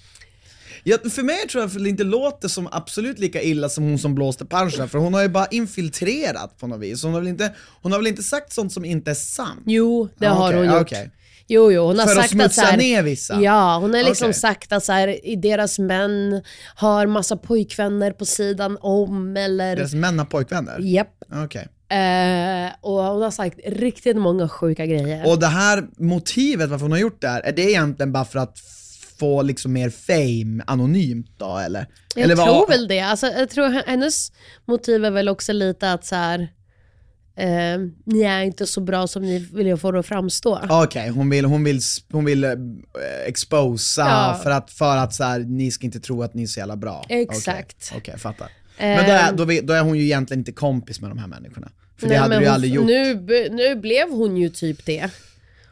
Speaker 1: Ja, för mig tror jag för det inte låter som absolut lika illa som hon som blåste punchen, för hon har ju bara infiltrerat på något vis. Hon har väl inte, hon har väl inte sagt sånt som inte är sant?
Speaker 2: Jo, det
Speaker 1: Ja,
Speaker 2: har
Speaker 1: Ah, okej,
Speaker 2: hon
Speaker 1: ja,
Speaker 2: gjort.
Speaker 1: okej.
Speaker 2: Jo, jo, hon har
Speaker 1: För att
Speaker 2: sagt
Speaker 1: smutsa
Speaker 2: så här,
Speaker 1: ner vissa?
Speaker 2: Ja, hon har liksom
Speaker 1: Okej.
Speaker 2: sagt att så här, i deras män har massa pojkvänner på sidan om eller...
Speaker 1: Deras män har pojkvänner?
Speaker 2: Japp.
Speaker 1: Okej.
Speaker 2: Eh, och hon har sagt riktigt många sjuka grejer.
Speaker 1: Och det här motivet varför hon har gjort det här, är det egentligen bara för att få liksom mer fame anonymt då eller?
Speaker 2: Jag
Speaker 1: eller
Speaker 2: tror
Speaker 1: vad-
Speaker 2: väl det. Alltså, jag tror h- hennes motiv är väl också lite att så här, eh, ni är inte så bra som ni vill få det att framstå.
Speaker 1: Okej, hon vill, hon vill, s- hon vill eh, exposa
Speaker 2: Ja.
Speaker 1: för att, för att så här, ni ska inte tro att ni är så jävla bra. Okej,
Speaker 2: Exakt. Ehm.
Speaker 1: Okej, jag fattar. Men då är, då, vi- då är hon ju egentligen inte kompis med de här människorna. För det
Speaker 2: Eh, Nej,
Speaker 1: hade
Speaker 2: men
Speaker 1: du ju
Speaker 2: hon-
Speaker 1: aldrig gjort.
Speaker 2: Nu, b- nu blev hon ju typ det.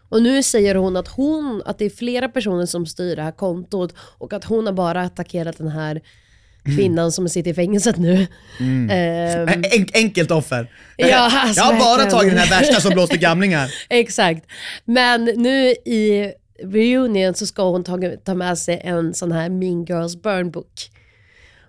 Speaker 2: Och nu säger hon att, hon att det är flera personer som styr det här kontot och att hon har bara attackerat den här
Speaker 1: Mm.
Speaker 2: kvinnan som sitter i fängelset nu. Ehm,
Speaker 1: En, enkelt offer.
Speaker 2: Ja, alltså,
Speaker 1: <laughs> jag har bara
Speaker 2: verkligen.
Speaker 1: tagit den här värsta som blåste
Speaker 2: <laughs>
Speaker 1: gamlingar.
Speaker 2: Exakt. Men nu i reunion så ska hon ta, ta med sig en sån här Mean Girls Burn Book.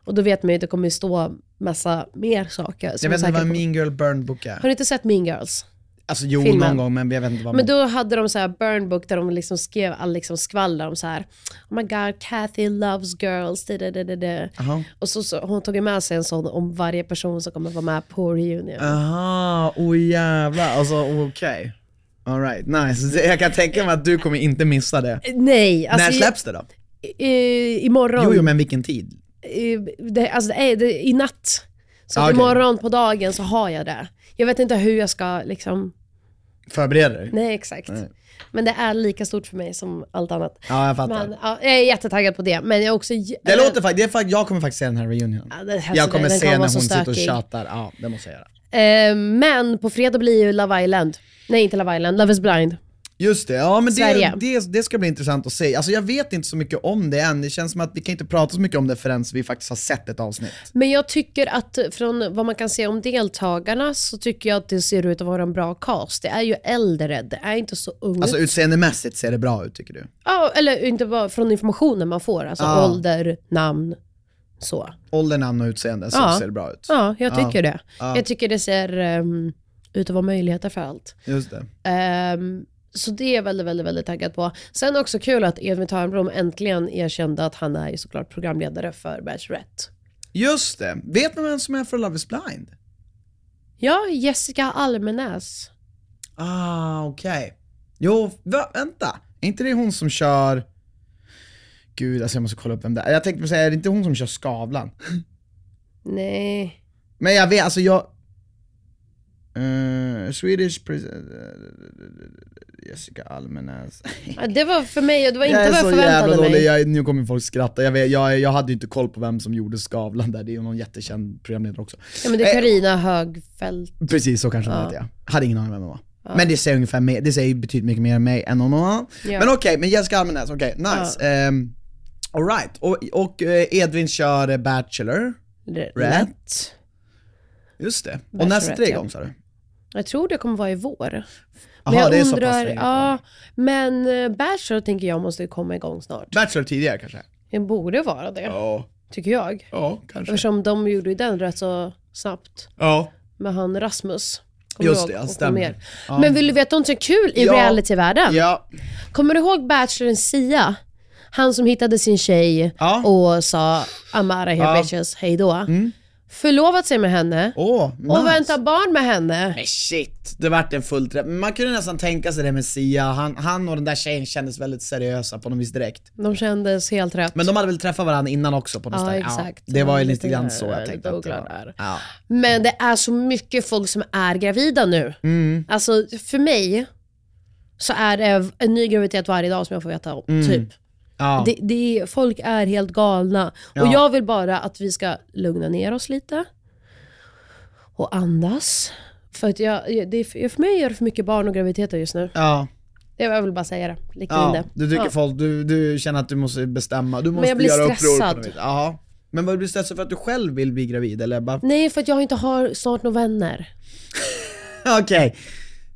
Speaker 2: Och då vet man ju att det kommer stå massa mer saker. som
Speaker 1: Jag vet inte
Speaker 2: säkert
Speaker 1: vad
Speaker 2: kommer-
Speaker 1: Mean Girl Burn Book är.
Speaker 2: Har du inte sett Mean Girls?
Speaker 1: Alltså jo,
Speaker 2: Filmen.
Speaker 1: någon gång men jag vet inte vad
Speaker 2: Men
Speaker 1: man...
Speaker 2: då hade de så här burn book där de liksom skrev all liksom skvaller om så här, oh my god, Kathy loves girls, da, da, da, da, da.
Speaker 1: Aha.
Speaker 2: Och så, så hon tog ju med sig en sån om varje person som kommer vara med på reunion.
Speaker 1: Aha, oh jävlar. Alltså okej. Alright, nice. Det- Jag kan tänka mig att du kommer inte missa det.
Speaker 2: Nej, alltså
Speaker 1: När
Speaker 2: i-
Speaker 1: släpps det då?
Speaker 2: i, i, imorgon.
Speaker 1: Jo, jo men vilken tid?
Speaker 2: i, det, alltså det är, det, i natt. Så
Speaker 1: Ah,
Speaker 2: att
Speaker 1: okej.
Speaker 2: imorgon på dagen så har jag det. Jag vet inte hur jag ska liksom,
Speaker 1: Förbereder dig?
Speaker 2: nej exakt. Men det är lika stort för mig som allt annat.
Speaker 1: Ja, jag fattar.
Speaker 2: Men, ja, jag är jättetaggad på det, men jag är också... jä-
Speaker 1: Ah, Det låter faktiskt, det är fakt- jag kommer faktiskt se den här reunion.
Speaker 2: Ja, det- alltså,
Speaker 1: Jag kommer
Speaker 2: den
Speaker 1: se
Speaker 2: kommer
Speaker 1: när
Speaker 2: vara
Speaker 1: hon
Speaker 2: så
Speaker 1: sitter och
Speaker 2: stökig.
Speaker 1: tjatar. Ja, det måste jag göra.
Speaker 2: Eh, men på fredag blir ju Love Island. Nej, inte Love Island, Love is blind.
Speaker 1: Just det, ja men det,
Speaker 2: Sverige.
Speaker 1: det, det ska bli intressant att se. Alltså jag vet inte så mycket om det än, det känns som att vi kan inte prata så mycket om det förrän vi faktiskt har sett ett avsnitt.
Speaker 2: Men jag tycker att från vad man kan se om deltagarna så tycker jag att det ser ut att vara en bra cast. Det är ju äldre, det är inte så ungt.
Speaker 1: Alltså utseendemässigt ser det bra ut tycker du?
Speaker 2: Ja, eller inte bara från informationen man får. Alltså
Speaker 1: Ja.
Speaker 2: ålder, namn, så.
Speaker 1: Ålder, namn och utseende så
Speaker 2: Ja.
Speaker 1: ser det bra ut.
Speaker 2: Ja, jag tycker det.
Speaker 1: Ja.
Speaker 2: Jag tycker det ser ehm, ut att vara möjligheter för allt.
Speaker 1: Just det.
Speaker 2: Ehm, så det är jag väldigt, väldigt, väldigt taggad på. Sen också kul att Edvin Törnblom äntligen erkände att han är ju såklart programledare för Bachelorette.
Speaker 1: Just det, vet man vem som är för Love is blind?
Speaker 2: Ja, Jessica Almenäs.
Speaker 1: Ah, okej. Jo, va, vänta. Är inte det hon som kör... Gud, alltså jag måste kolla upp vem det är. Jag tänkte säga, är det inte hon som kör Skavlan?
Speaker 2: Nej.
Speaker 1: Men jag vet, alltså jag... Eh, Swedish president... Jessica Almenäs.
Speaker 2: Ja, Det var för mig, det var inte
Speaker 1: jag är
Speaker 2: vad jag
Speaker 1: så jävla
Speaker 2: förväntade
Speaker 1: dålig,
Speaker 2: mig.
Speaker 1: jag, nu kommer folk skratta. Jag, vet, jag, jag hade ju inte koll på vem som gjorde Skavlan där, det är ju någon jättekänd programledare också.
Speaker 2: Ja, men det
Speaker 1: Eh,
Speaker 2: är Carina Högfeldt.
Speaker 1: Precis, så kanske hon heter jag. Hade ingen aning vem hon var. Men det säger ungefär mer, det säger betydligt mycket mer än mig än någon annan.
Speaker 2: Ja.
Speaker 1: Men okej, men Jessica Almenäs, okej, nice. Ehm, all Alright, och, och eh, Edvin kör eh, Bachelor, rätt? Just det. Och nästa
Speaker 2: Bachelorette,
Speaker 1: tre
Speaker 2: ja.
Speaker 1: gång sa du?
Speaker 2: Jag tror det kommer vara i vår.
Speaker 1: Aha,
Speaker 2: Men jag
Speaker 1: det är så pass
Speaker 2: undrar,
Speaker 1: länge kvar.
Speaker 2: ja, men eh, Bachelor tänker jag måste komma igång snart.
Speaker 1: Bachelor tidigare kanske?
Speaker 2: Det borde vara det,
Speaker 1: Ja,
Speaker 2: tycker jag.
Speaker 1: ja kanske.
Speaker 2: Eftersom de gjorde ju den rätt så snabbt
Speaker 1: Ja.
Speaker 2: med han Rasmus.
Speaker 1: Just det,
Speaker 2: du ihåg?
Speaker 1: ja,
Speaker 2: Och kom
Speaker 1: stämmer.
Speaker 2: igen. Men vill du veta något som är kul i
Speaker 1: Ja.
Speaker 2: realityvärlden?
Speaker 1: Ja.
Speaker 2: Kommer du ihåg Bachelorn Sia? Han som hittade sin tjej
Speaker 1: Ja.
Speaker 2: och sa I'm out of here bitches, hej då. Förlovat sig med henne
Speaker 1: Åh, Oh, nice.
Speaker 2: och väntar barn med henne.
Speaker 1: Men shit, det vart en fullträff. Men Man kunde nästan tänka sig det med Sia, han, han och den där tjejen kändes väldigt seriösa på något vis direkt.
Speaker 2: De kändes helt rätt.
Speaker 1: Men de hade väl träffat varandra innan också på något
Speaker 2: Ja,
Speaker 1: ställe?
Speaker 2: exakt.
Speaker 1: det var ju
Speaker 2: Ja,
Speaker 1: lite
Speaker 2: lite
Speaker 1: grann
Speaker 2: där,
Speaker 1: så jag tänkte att det
Speaker 2: Douglas
Speaker 1: var.
Speaker 2: där.
Speaker 1: Ja.
Speaker 2: Men det är så mycket folk som är gravida nu.
Speaker 1: Mm.
Speaker 2: Alltså för mig så är det en ny graviditet varje dag som jag får veta om. Typ.
Speaker 1: Mm. Ja.
Speaker 2: Det, det är, folk är helt galna. Och jag vill bara att vi ska lugna ner oss lite. Och andas. För, att jag, jag- det är, för- för mig är det för mycket barn och graviditeter just nu.
Speaker 1: Ja,
Speaker 2: Jag vill bara säga det. Lite in
Speaker 1: ja.
Speaker 2: det.
Speaker 1: Du, tycker
Speaker 2: Ja.
Speaker 1: folk, du, du känner att du måste bestämma, du måste
Speaker 2: jag blir
Speaker 1: göra uppror på
Speaker 2: stressad.
Speaker 1: något vis. Ja. Men vad blir du stressad för att du själv vill bli gravid eller? bara- <laughs>
Speaker 2: Nej, för att jag inte har snart några vänner.
Speaker 1: Okej,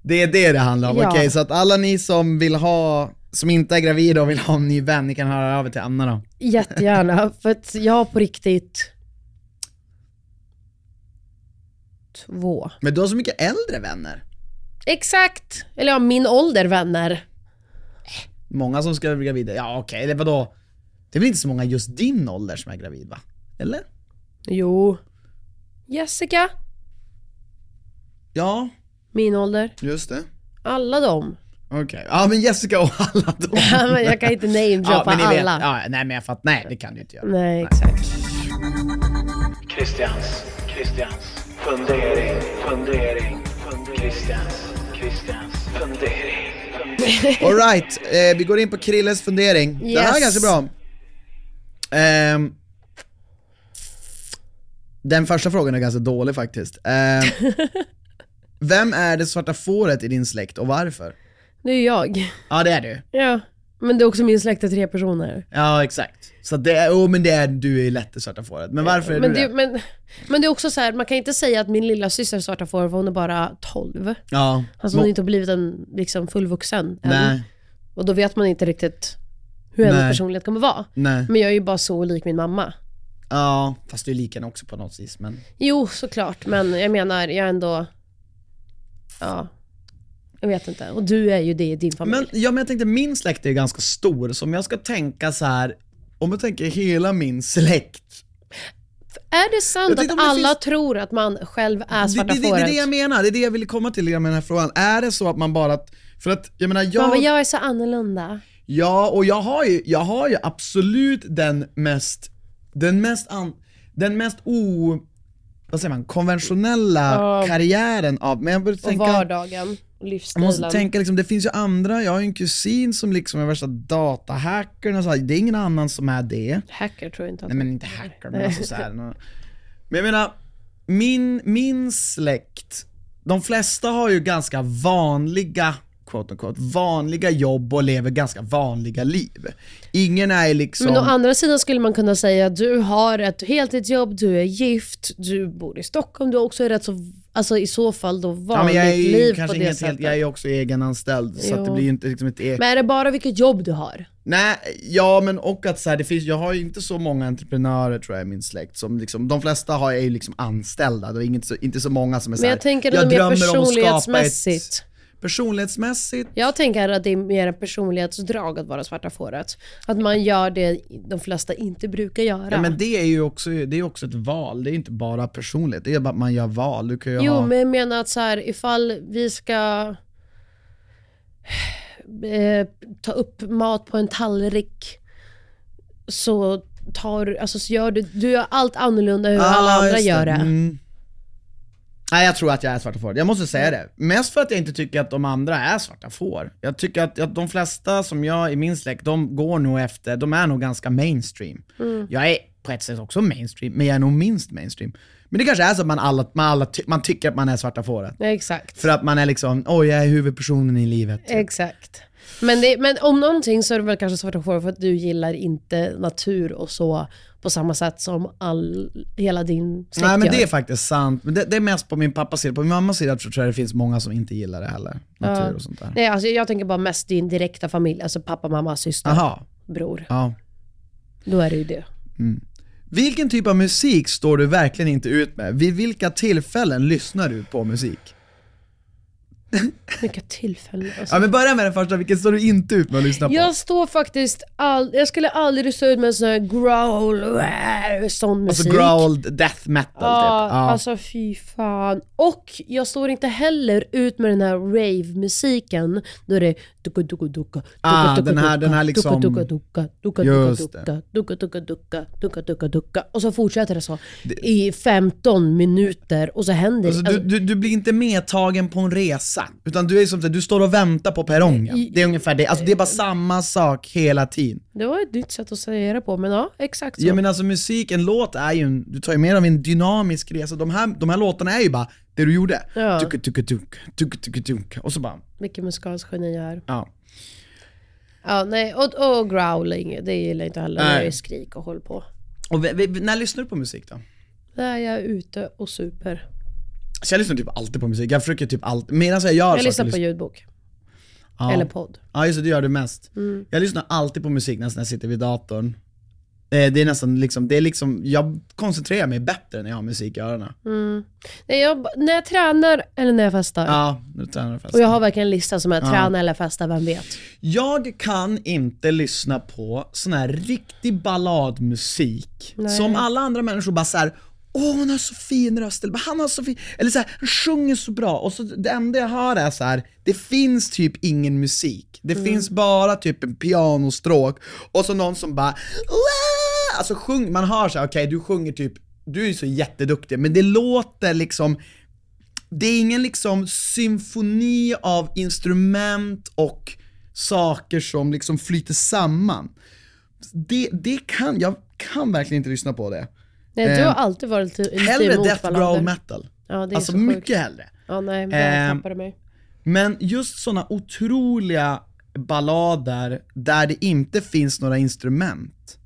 Speaker 1: det är det det handlar om.
Speaker 2: Ja.
Speaker 1: Okej, så att alla ni som vill ha, som inte är gravida och vill ha en ny vän, ni kan höra av er till Anna då.
Speaker 2: Jättegärna, för att jag har på riktigt två.
Speaker 1: Men du har så mycket äldre vänner.
Speaker 2: Exakt! Eller ja, min ålder vänner.
Speaker 1: Många som ska bli gravida, ja okej, det vadå? Det är väl inte så många just din ålder som är gravid va? Eller?
Speaker 2: Jo. Jessica,
Speaker 1: Ja,
Speaker 2: min ålder.
Speaker 1: just det.
Speaker 2: Alla dem. <laughs>
Speaker 1: Okej, ja men Jessica och alla då.
Speaker 2: Ja, men jag kan inte namedroppa
Speaker 1: ni vet.
Speaker 2: alla.
Speaker 1: Ja, nej men jag fattar, nej det kan du inte göra.
Speaker 2: Nej, exakt.
Speaker 4: Christians, Christians, fundering, fundering, fundering. Christians, Christians, fundering, fundering.
Speaker 1: Alright, eh, vi går in på Krilles fundering. Det här är ganska
Speaker 2: Yes.
Speaker 1: bra. Ehm, den första frågan är ganska dålig faktiskt.
Speaker 2: <laughs>
Speaker 1: Ehm, vem är det svarta fåret i din släkt och varför?
Speaker 2: Det är jag.
Speaker 1: Ja det är du.
Speaker 2: Ja. Men det är också min släkt är tre personer.
Speaker 1: Ja, exakt. Så att det är, oh, men det är, du är lätt i svarta fåret. Men varför är
Speaker 2: Men
Speaker 1: du
Speaker 2: det,
Speaker 1: det?
Speaker 2: men, men det är också så här, man kan inte säga att min lilla syster är svarta får för hon är bara 12.
Speaker 1: Ja.
Speaker 2: Alltså hon har inte blivit en liksom, fullvuxen än.
Speaker 1: Nej,
Speaker 2: Och då vet man inte riktigt hur hennes
Speaker 1: Nej.
Speaker 2: personlighet kommer vara.
Speaker 1: nej.
Speaker 2: Men jag är ju bara så lik min mamma.
Speaker 1: Ja, fast du är lika också på något vis. Men
Speaker 2: Jo, såklart. Men jag menar, jag är ändå... Ja. Jag vet inte. Och du är ju det i din familj.
Speaker 1: Men, ja, men jag tänkte min släkt är ju ganska stor, så om jag ska tänka så här om jag tänker hela min släkt.
Speaker 2: är det sant
Speaker 1: Jag tänkte
Speaker 2: att
Speaker 1: om det
Speaker 2: alla
Speaker 1: finns-
Speaker 2: tror att man själv är
Speaker 1: Alltså, Det,
Speaker 2: svarta
Speaker 1: det, det, det är det jag
Speaker 2: fåret?
Speaker 1: menar, det är det jag ville komma till med den här frågan. Är det så att man bara... För att jag menar,
Speaker 2: Mamma,
Speaker 1: jag...
Speaker 2: jag är så annorlunda.
Speaker 1: Ja, och jag har ju, jag har ju absolut den mest, den mest, an, den mest o, vad säger man, konventionella karriären av, men jag börjar
Speaker 2: Och
Speaker 1: tänka,
Speaker 2: vardagen, och
Speaker 1: jag
Speaker 2: livsstilen.
Speaker 1: måste tänka liksom, det finns ju andra, jag har ju en kusin som liksom är värsta datahackern och så här, det är ingen annan som är det.
Speaker 2: Hacker tror jag inte att
Speaker 1: Nej men inte hackar men alltså så här. nå- Men jag menar, min, min släkt, de flesta har ju ganska vanliga, quote unquote, vanliga jobb och lever ganska vanliga liv. Ingen är liksom...
Speaker 2: Men å andra sidan skulle man kunna säga att du har ett heltidsjobb, du är gift, du bor i Stockholm, du har också rätt så, alltså i så fall då
Speaker 1: ja, men
Speaker 2: vanligt
Speaker 1: jag är ju
Speaker 2: liv på
Speaker 1: kanske
Speaker 2: det
Speaker 1: inget
Speaker 2: sättet.
Speaker 1: helt, jag är ju också egenanställd så att det
Speaker 2: Jo.
Speaker 1: blir ju inte liksom ett eget...
Speaker 2: Men är det bara vilket jobb du har?
Speaker 1: Nej, ja men och att så här, det finns, jag har ju inte så många entreprenörer tror jag i min släkt som liksom, de flesta har, är ju liksom anställda, det är inget, så, inte så många som är så
Speaker 2: Men
Speaker 1: här,
Speaker 2: jag tänker att det är mer
Speaker 1: drömmer om att skapa
Speaker 2: personlighetsmässigt.
Speaker 1: ett... Personlighetsmässigt?
Speaker 2: Jag tänker att det är mer en personlighetsdrag att vara svarta fåret. Att man gör det de flesta inte brukar göra.
Speaker 1: Ja, men det är ju också, det är också ett val, det är inte bara personligt, det är bara att man gör val. Du kan ju
Speaker 2: Jo,
Speaker 1: ha...
Speaker 2: men jag menar att så här, ifall vi ska eh, ta upp mat på en tallrik så tar alltså så gör du, du gör allt annorlunda hur
Speaker 1: Ah,
Speaker 2: alla andra
Speaker 1: just
Speaker 2: gör det.
Speaker 1: Mm. Nej jag tror att jag är svarta får, jag måste säga det. Mest för att jag inte tycker att de andra är svarta får. Jag tycker att, att de flesta som jag i min släkt, de går nog efter, de är nog ganska mainstream.
Speaker 2: Mm.
Speaker 1: Jag är på ett sätt också mainstream, men jag är nog minst mainstream. Men det kanske är så att man, alla, man, alla ty- man tycker att man är svarta fåret.
Speaker 2: Ja, exakt.
Speaker 1: För att man är liksom, oj jag är huvudpersonen i livet.
Speaker 2: Exakt. Men, det, men om någonting så är det väl kanske svarta får för att du gillar inte natur och så på samma sätt som all, hela din släkt
Speaker 1: Nej men
Speaker 2: gör.
Speaker 1: det är faktiskt sant, men det, det är mest på min pappas sida. På min mammas sida tror jag det finns många som inte gillar det heller. Natur och sånt där.
Speaker 2: Nej, alltså jag tänker bara mest din direkta familj, alltså pappa, mamma, syster,
Speaker 1: Aha,
Speaker 2: bror.
Speaker 1: ja.
Speaker 2: Då är det ju det.
Speaker 1: Vilken typ av musik står du verkligen inte ut med? Vid vilka tillfällen lyssnar du på musik?
Speaker 2: Vilka tillfällen alltså.
Speaker 1: Ja men börja med den första, vilken står du inte ut med att lyssna på?
Speaker 2: Jag står faktiskt all, jag skulle aldrig stå ut med en sån här growl, äh, sån musik.
Speaker 1: alltså growled death metal
Speaker 2: Ja,
Speaker 1: typ. Ja.
Speaker 2: alltså fy fan. Och jag står inte heller ut med den här rave-musiken. Då är det duka duka duka
Speaker 1: Ah, den här- den här liksom-
Speaker 2: duka duka duka duka
Speaker 1: Just
Speaker 2: duka duka duka duka duka duka ducka. Och så fortsätter det så i 15 minuter och så händer
Speaker 1: Alltså, du, du, du blir inte medtagen på en resa, utan du är som så här, du står och väntar på perrongen. Det är ungefär det, alltså det är bara samma sak hela tiden.
Speaker 2: Det var ett nytt sätt att säga det på, men ja, exakt så.
Speaker 1: Ja men alltså musik, en låt är ju en, du tar ju med av en dynamisk resa. De här, de här låtarna är ju bara det du gjorde.
Speaker 2: Ja.
Speaker 1: Tucka, tucka, tucka, tucka, tucka, tucka. Och så bara,
Speaker 2: Vilken musikalsk geni jag är.
Speaker 1: ja.
Speaker 2: Ja, nej, och, och growling, det gillar jag inte heller.
Speaker 1: Nej.
Speaker 2: Det är ju skrik och håll på.
Speaker 1: Och vi, vi, när lyssnar du på musik då?
Speaker 2: Där jag är ute och super.
Speaker 1: Så jag lyssnar typ alltid på musik, jag försöker typ alltid, medan jag gör
Speaker 2: Jag lyssnar på ljudbok.
Speaker 1: ja.
Speaker 2: Eller podd.
Speaker 1: Ja just det, det gör du mest.
Speaker 2: Mm.
Speaker 1: Jag lyssnar alltid på musik nästan när jag sitter vid datorn. Eh, det är nästan liksom, det är liksom, jag koncentrerar mig bättre när jag har musik i öronen.
Speaker 2: Mm. Nej, jag, när jag tränar eller när jag festar.
Speaker 1: Ja, nu tränar jag fast.
Speaker 2: Och jag har verkligen en lista som är träna eller festa, vem vet.
Speaker 1: Jag kan inte lyssna på sån här riktig balladmusik som alla andra människor bara såhär Åh hon har så fin röst, eller han har så fin, eller såhär, han sjunger så bra och så det enda jag hör är så här: det finns typ ingen musik. Det finns bara typ en pianostråk och så någon som bara "Wah!" Alltså sjung, man hör såhär, okej du sjunger typ, du är ju så jätteduktig men det låter liksom det är ingen liksom symfoni av instrument och saker som liksom flyter samman. Det, det kan, jag kan verkligen inte lyssna på det.
Speaker 2: Nej, du har
Speaker 1: Ehm,
Speaker 2: alltid varit lite lite
Speaker 1: Hellre
Speaker 2: emot
Speaker 1: death
Speaker 2: ballader.
Speaker 1: growl metal.
Speaker 2: Ja, det är
Speaker 1: Alltså Eh,
Speaker 2: så sjukt.
Speaker 1: mycket hellre.
Speaker 2: Ja, nej, men jag
Speaker 1: Ehm,
Speaker 2: tappade mig.
Speaker 1: Men just såna otroliga ballader där det inte finns några instrument.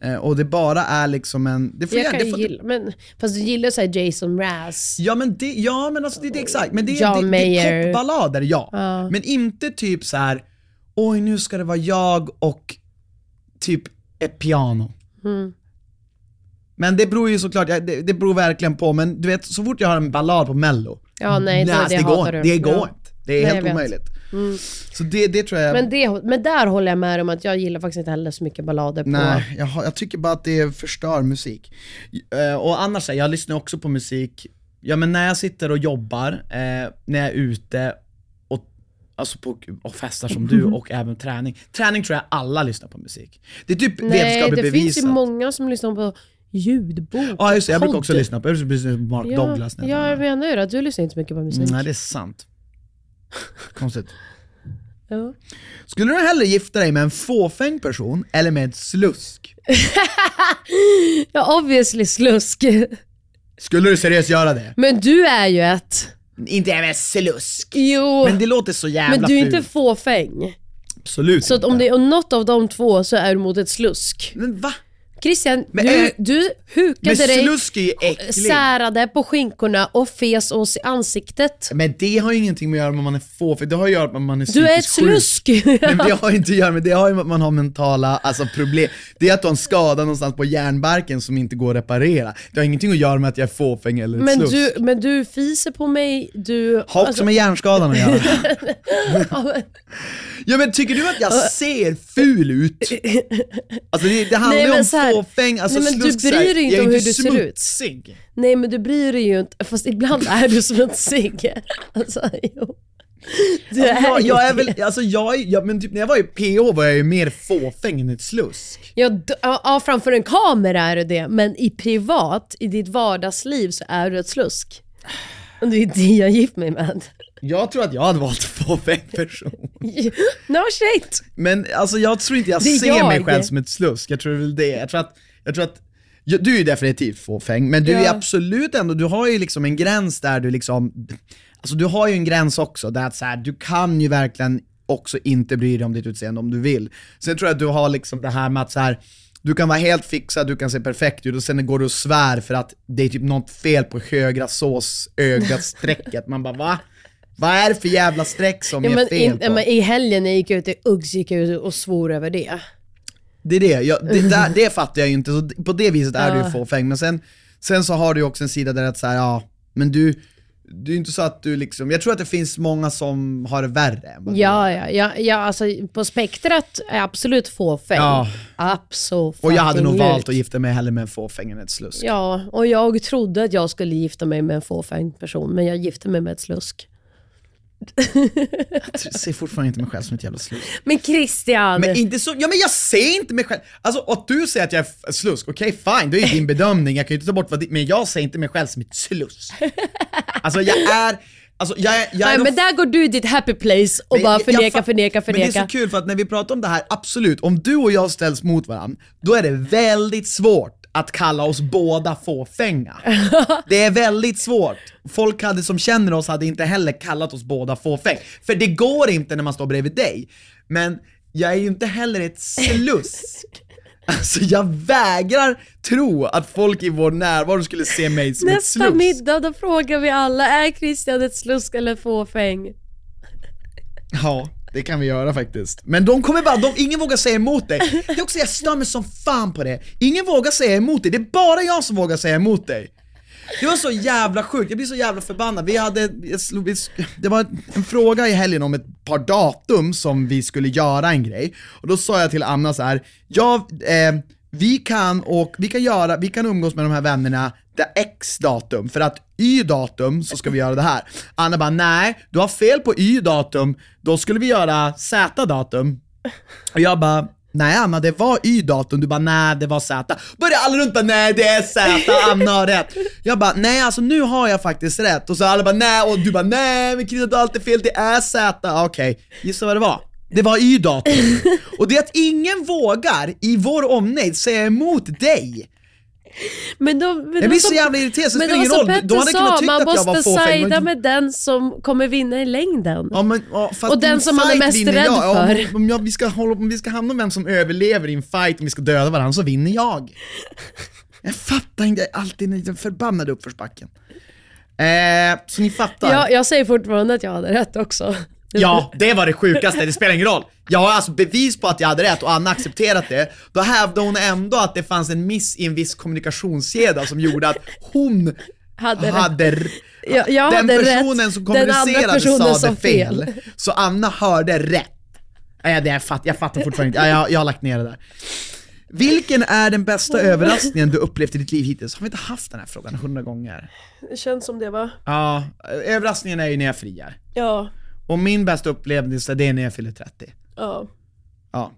Speaker 1: Eh, och det bara är liksom en... Det får
Speaker 2: Jag
Speaker 1: gärna-
Speaker 2: kan
Speaker 1: det
Speaker 2: ju
Speaker 1: får,
Speaker 2: gilla, men, fast du gillar så här Jason Mraz.
Speaker 1: Ja men det, ja men alltså det, det är exakt, men det,
Speaker 2: John
Speaker 1: det, det
Speaker 2: Mayer.
Speaker 1: är popballader ja. Men inte typ så här. oj nu ska det vara jag och typ ett piano.
Speaker 2: Mm.
Speaker 1: Men det beror ju såklart, ja, det, det beror verkligen på, men du vet så fort jag har en ballad på mello,
Speaker 2: Ja, nej, det- det
Speaker 1: går,
Speaker 2: hatar
Speaker 1: inte.
Speaker 2: du.
Speaker 1: det går
Speaker 2: Ja.
Speaker 1: inte. Det är
Speaker 2: Nej, jag
Speaker 1: helt
Speaker 2: vet. Mm.
Speaker 1: omöjligt. Så det, det tror jag,
Speaker 2: Men, det, men där håller jag med om att jag gillar faktiskt inte heller så mycket ballader på...
Speaker 1: nej, jag, har- jag tycker bara att det förstör musik. Eh, och annars, så här, jag lyssnar också på musik, ja men när jag sitter och jobbar, eh, när jag är ute och, alltså på, och festar som
Speaker 2: <laughs>
Speaker 1: du och även träning. Träning tror jag alla lyssnar på musik. Det är typ
Speaker 2: Nej,
Speaker 1: vetenskapligt
Speaker 2: det finns
Speaker 1: bevisat.
Speaker 2: ju många som lyssnar på ljudbok.
Speaker 1: Ja just det, jag brukar också
Speaker 2: podd.
Speaker 1: lyssna på, jag brukar lyssna på Mark
Speaker 2: ja,
Speaker 1: Douglas. när jag
Speaker 2: Ja,
Speaker 1: tränar.
Speaker 2: jag menar ju det, att du lyssnar inte så mycket på musik.
Speaker 1: Nej det är sant. Konstigt.
Speaker 2: Ja. <laughs>
Speaker 1: Skulle du hellre gifta dig med en fåfäng person eller med ett slusk?
Speaker 2: ja, obviously slusk.
Speaker 1: Skulle du seriöst göra det?
Speaker 2: Men du är ju ett.
Speaker 1: Inte jag med slusk.
Speaker 2: Jo,
Speaker 1: Men det låter så jävla
Speaker 2: men du är inte
Speaker 1: fult.
Speaker 2: fåfäng.
Speaker 1: Absolut
Speaker 2: Så att om det är något av de två så är du mot ett slusk.
Speaker 1: Men va?
Speaker 2: Christian,
Speaker 1: Men
Speaker 2: du,
Speaker 1: är-
Speaker 2: du
Speaker 1: Men
Speaker 2: hukade dig,
Speaker 1: slusk är ju äckligt.
Speaker 2: särade på skinkorna och fes oss i ansiktet.
Speaker 1: Men det har ju ingenting med att göra med om man är fåfäng, det har ju att göra med att man är
Speaker 2: Du är ett
Speaker 1: psykiskt sjuk.
Speaker 2: slusk.
Speaker 1: Men det har ju inte att göra med, det har ju med att man har mentala alltså, problem. Det är att du har en skada någonstans på hjärnbarken som inte går att reparera. Det har ingenting att göra med att jag är fåfäng eller ett
Speaker 2: <laughs> Men
Speaker 1: slusk.
Speaker 2: du, men du fiser på mig, du...
Speaker 1: Har också
Speaker 2: alltså,
Speaker 1: med hjärnskadan att göra.
Speaker 2: <laughs> ja, men-
Speaker 1: Ja men tycker du att jag ser ful ut? Alltså det, det handlar
Speaker 2: Nej,
Speaker 1: ju
Speaker 2: men
Speaker 1: om
Speaker 2: så här-
Speaker 1: fåfäng, alltså
Speaker 2: nej, men du
Speaker 1: slusk, så här,
Speaker 2: bryr dig inte
Speaker 1: jag är
Speaker 2: om hur
Speaker 1: inte
Speaker 2: du ser ut.
Speaker 1: smutsig.
Speaker 2: nej men du bryr dig ju inte, fast ibland <laughs> är du som en cigg. Alltså, jo. Du
Speaker 1: <laughs> Alltså, jag,
Speaker 2: ju
Speaker 1: jag är
Speaker 2: det.
Speaker 1: väl, alltså jag är, ja, men typ när jag var i PH var jag ju mer fåfäng än ett slusk.
Speaker 2: Ja, d- ja, ja, framför en kamera är du det, men i privat, i ditt vardagsliv så är du ett slusk. Och det är det jag gift mig med. <laughs>
Speaker 1: Jag tror att jag hade valt <laughs> fåfäng person.
Speaker 2: No shit!
Speaker 1: Men alltså jag tror inte jag
Speaker 2: Det är
Speaker 1: ser
Speaker 2: jag.
Speaker 1: mig själv som ett slusk, jag tror väl det. Jag tror att, jag tror att ja, du är ju definitivt fåfäng, men du
Speaker 2: Ja.
Speaker 1: är absolut ändå, du har ju liksom en gräns där du liksom, alltså du har ju en gräns också, där att så här, du kan ju verkligen också inte bry dig om ditt utseende om du vill. Sen tror jag att du har liksom det här med att så här, du kan vara helt fixad, du kan se perfekt ut och sen går du och svär för att det är typ något fel på högra sås ögat strecket. Man bara va? Vad är det för jävla streck som
Speaker 2: Ja,
Speaker 1: är
Speaker 2: men,
Speaker 1: fel
Speaker 2: in,
Speaker 1: på?
Speaker 2: ja, men I helgen när jag gick ut i Uggs gick jag ut och svor över det.
Speaker 1: Det är det, jag, det,
Speaker 2: <laughs>
Speaker 1: där, det fattar jag ju inte, så d- på det viset är du ju fåfäng. Men sen, sen så har du ju också en sida där att säga ja, men du, det är ju inte så att du liksom, jag tror att det finns många som har det värre än vad du har.
Speaker 2: Ja, ja, ja, ja alltså på spektrat är jag absolut fåfäng.
Speaker 1: Ja.
Speaker 2: Absolut.
Speaker 1: Och jag hade nog valt att gifta mig hellre med en fåfäng än ett slusk.
Speaker 2: Ja, och jag trodde att jag skulle gifta mig med en fåfäng person, men jag gifte mig med ett slusk.
Speaker 1: Jag ser fortfarande inte mig själv som ett jävla slusk.
Speaker 2: Men Christian!
Speaker 1: Men inte så, ja men jag ser inte mig själv, alltså att du säger att jag är f- slusk, okej fine, det är ju din bedömning, jag kan ju inte ta bort vad det, men jag ser inte mig själv som ett
Speaker 2: <laughs>
Speaker 1: slusk. Alltså jag är, alltså jag är, jag är
Speaker 2: Nej,
Speaker 1: nog
Speaker 2: men där går du i ditt happy place och bara
Speaker 1: jag- jag
Speaker 2: förneka,
Speaker 1: fa-
Speaker 2: förneka,
Speaker 1: Men det är
Speaker 2: förneka.
Speaker 1: så kul för att när vi pratar om det här, absolut, om du och jag ställs mot varandra, då är det väldigt svårt att kalla oss båda
Speaker 2: <laughs>
Speaker 1: fåfänga. Det är väldigt svårt. Folk hade, som känner oss hade inte heller kallat oss båda fåfäng. För det går inte när man står bredvid dig. Men jag är ju inte heller ett
Speaker 2: <laughs>
Speaker 1: slusk. Alltså jag vägrar tro att folk i vår närvaro skulle se mig som ett
Speaker 2: Nästa
Speaker 1: slusk.
Speaker 2: middag då frågar vi alla, är Christian ett slusk eller ett fåfäng?
Speaker 1: Ja, det kan vi göra faktiskt. Men de kommer bara, de, ingen vågar säga emot dig. Det är också, jag stör mig som fan på det. Ingen vågar säga emot dig, det är bara jag som vågar säga emot dig. Det var så jävla sjukt, jag blir så jävla förbannad. Vi hade, jag slog- vi, det var en fråga i helgen om ett par datum som vi skulle göra en grej. Och då sa jag till Anna så här, jag, eh, vi kan, och, vi, kan göra, vi kan umgås med de här vännerna det X datum, för att Y datum så ska vi göra det här. Anna bara, nej, du har fel på Y datum, då skulle vi göra Z datum. Och jag bara, nej Anna det var Y-datum, du bara nej det var Z. Började alla runt bara, nej det är Z, Anna har rätt. Jag bara, nej alltså nu har jag faktiskt rätt. Och så alla bara, nej och du bara, nej men Christer du har alltid fel, det är Z. Okej, gissa vad det var? Det var Y-datum. Och det är att ingen vågar i vår omnejd säga emot dig.
Speaker 2: Men då, men
Speaker 1: Jag
Speaker 2: då
Speaker 1: blir
Speaker 2: som-
Speaker 1: så jävla irriterad, så det
Speaker 2: men
Speaker 1: spelar
Speaker 2: då
Speaker 1: ingen
Speaker 2: som
Speaker 1: roll.
Speaker 2: Petter
Speaker 1: Då hade jag
Speaker 2: sa,
Speaker 1: kunnat tycka
Speaker 2: man
Speaker 1: att jag var
Speaker 2: måste
Speaker 1: fåfäng.
Speaker 2: sajda
Speaker 1: men-
Speaker 2: med den som kommer vinna i längden.
Speaker 1: Ja, men, ja, för att
Speaker 2: Och den
Speaker 1: i en
Speaker 2: som man är
Speaker 1: fight
Speaker 2: mest
Speaker 1: vinner
Speaker 2: rädd
Speaker 1: jag. Ja,
Speaker 2: för.
Speaker 1: Om, om, jag, vi ska hålla, om vi ska hamna om vem som överlever i en fight, om vi ska döda varandra, så vinner jag. Jag fattar inte, jag är alltid i den förbannade uppförsbacken. Eh, så ni fattar.
Speaker 2: jag, jag säger fortfarande att jag hade rätt också.
Speaker 1: Ja, det var det sjukaste. Det spelar ingen roll. Jag har alltså bevis på att jag hade rätt och Anna accepterat det. Då hävdade hon ändå att det fanns en miss i en viss kommunikationskedja som gjorde att hon
Speaker 2: Hade
Speaker 1: hade,
Speaker 2: rätt. Jag, jag
Speaker 1: den
Speaker 2: hade
Speaker 1: personen
Speaker 2: rätt.
Speaker 1: som
Speaker 2: Den andra
Speaker 1: kommunicerade sa
Speaker 2: personen sa
Speaker 1: det fel. Så Anna hörde rätt. Nej, det jag, fatt, jag fattar fortfarande inte. Ja, jag, jag har lagt ner det där. Vilken är den
Speaker 2: <laughs>
Speaker 1: bästa överraskningen du upplevt i ditt liv hittills? Har vi inte haft den här frågan hundra gånger?
Speaker 2: Det känns som det va?
Speaker 1: Ja, överraskningen är ju när jag friar.
Speaker 2: Ja.
Speaker 1: Och min bästa upplevelse, det är när jag fyller 30.
Speaker 2: ja.
Speaker 1: Ja.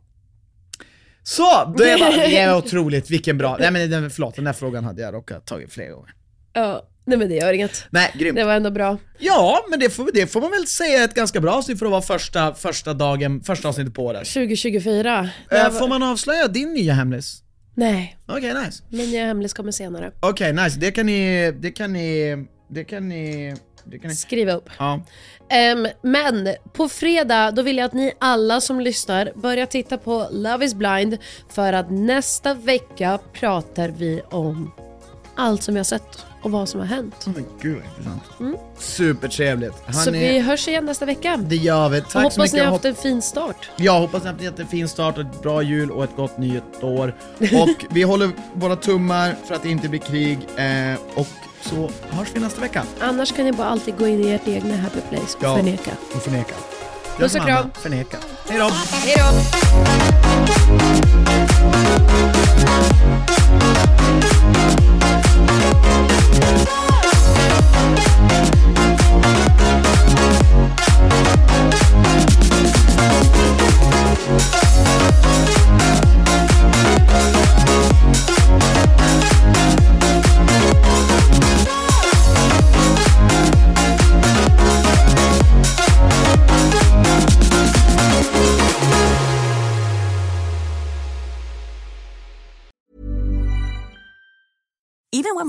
Speaker 1: Så! Det är, bara, det
Speaker 2: <laughs>
Speaker 1: är otroligt, vilken bra... Nej men den, förlåt, den där frågan hade jag råkat tagit fler gånger.
Speaker 2: ja. Nej men det gör inget.
Speaker 1: Nej, grymt.
Speaker 2: Det var ändå bra.
Speaker 1: Ja, men det får, det får man väl säga är ett ganska bra avsnitt för att vara första, första dagen, första avsnittet på året.
Speaker 2: 2024. Det
Speaker 1: Eh,
Speaker 2: här var-
Speaker 1: Får man avslöja din nya hemlis?
Speaker 2: Nej,
Speaker 1: Okej, nice.
Speaker 2: men jag är hemlis kommer senare.
Speaker 1: Okej, nice. Det kan ni... Det kan ni... Det kan ni... Det kan ni...
Speaker 2: Skriva upp.
Speaker 1: Ja.
Speaker 2: Ehm, men på fredag, då vill jag att ni alla som lyssnar börjar titta på Love is blind för att nästa vecka pratar vi om allt som vi har sett och vad som har hänt.
Speaker 1: Oh, gud vad intressant. Supertrevligt.
Speaker 2: Mm. Så
Speaker 1: Hörni,
Speaker 2: vi hörs igen nästa vecka.
Speaker 1: Det gör vi.
Speaker 2: Och
Speaker 1: Tack så
Speaker 2: hoppas
Speaker 1: mycket.
Speaker 2: ni har
Speaker 1: Hopp-
Speaker 2: haft en fin start.
Speaker 1: Jag hoppas ni har haft en jättefin start, och ett bra jul och ett gott nytt år. Och vi håller våra tummar för att det inte blir krig. Eh, och så hörs vi nästa vecka.
Speaker 2: Annars kan ni bara alltid gå in i ert egna happy place och
Speaker 1: Ja.
Speaker 2: förneka.
Speaker 1: Och förneka.
Speaker 2: Puss och
Speaker 1: Jag som Anna,
Speaker 2: kram.
Speaker 1: Förneka. Hej då.
Speaker 2: Hej då!
Speaker 5: Even when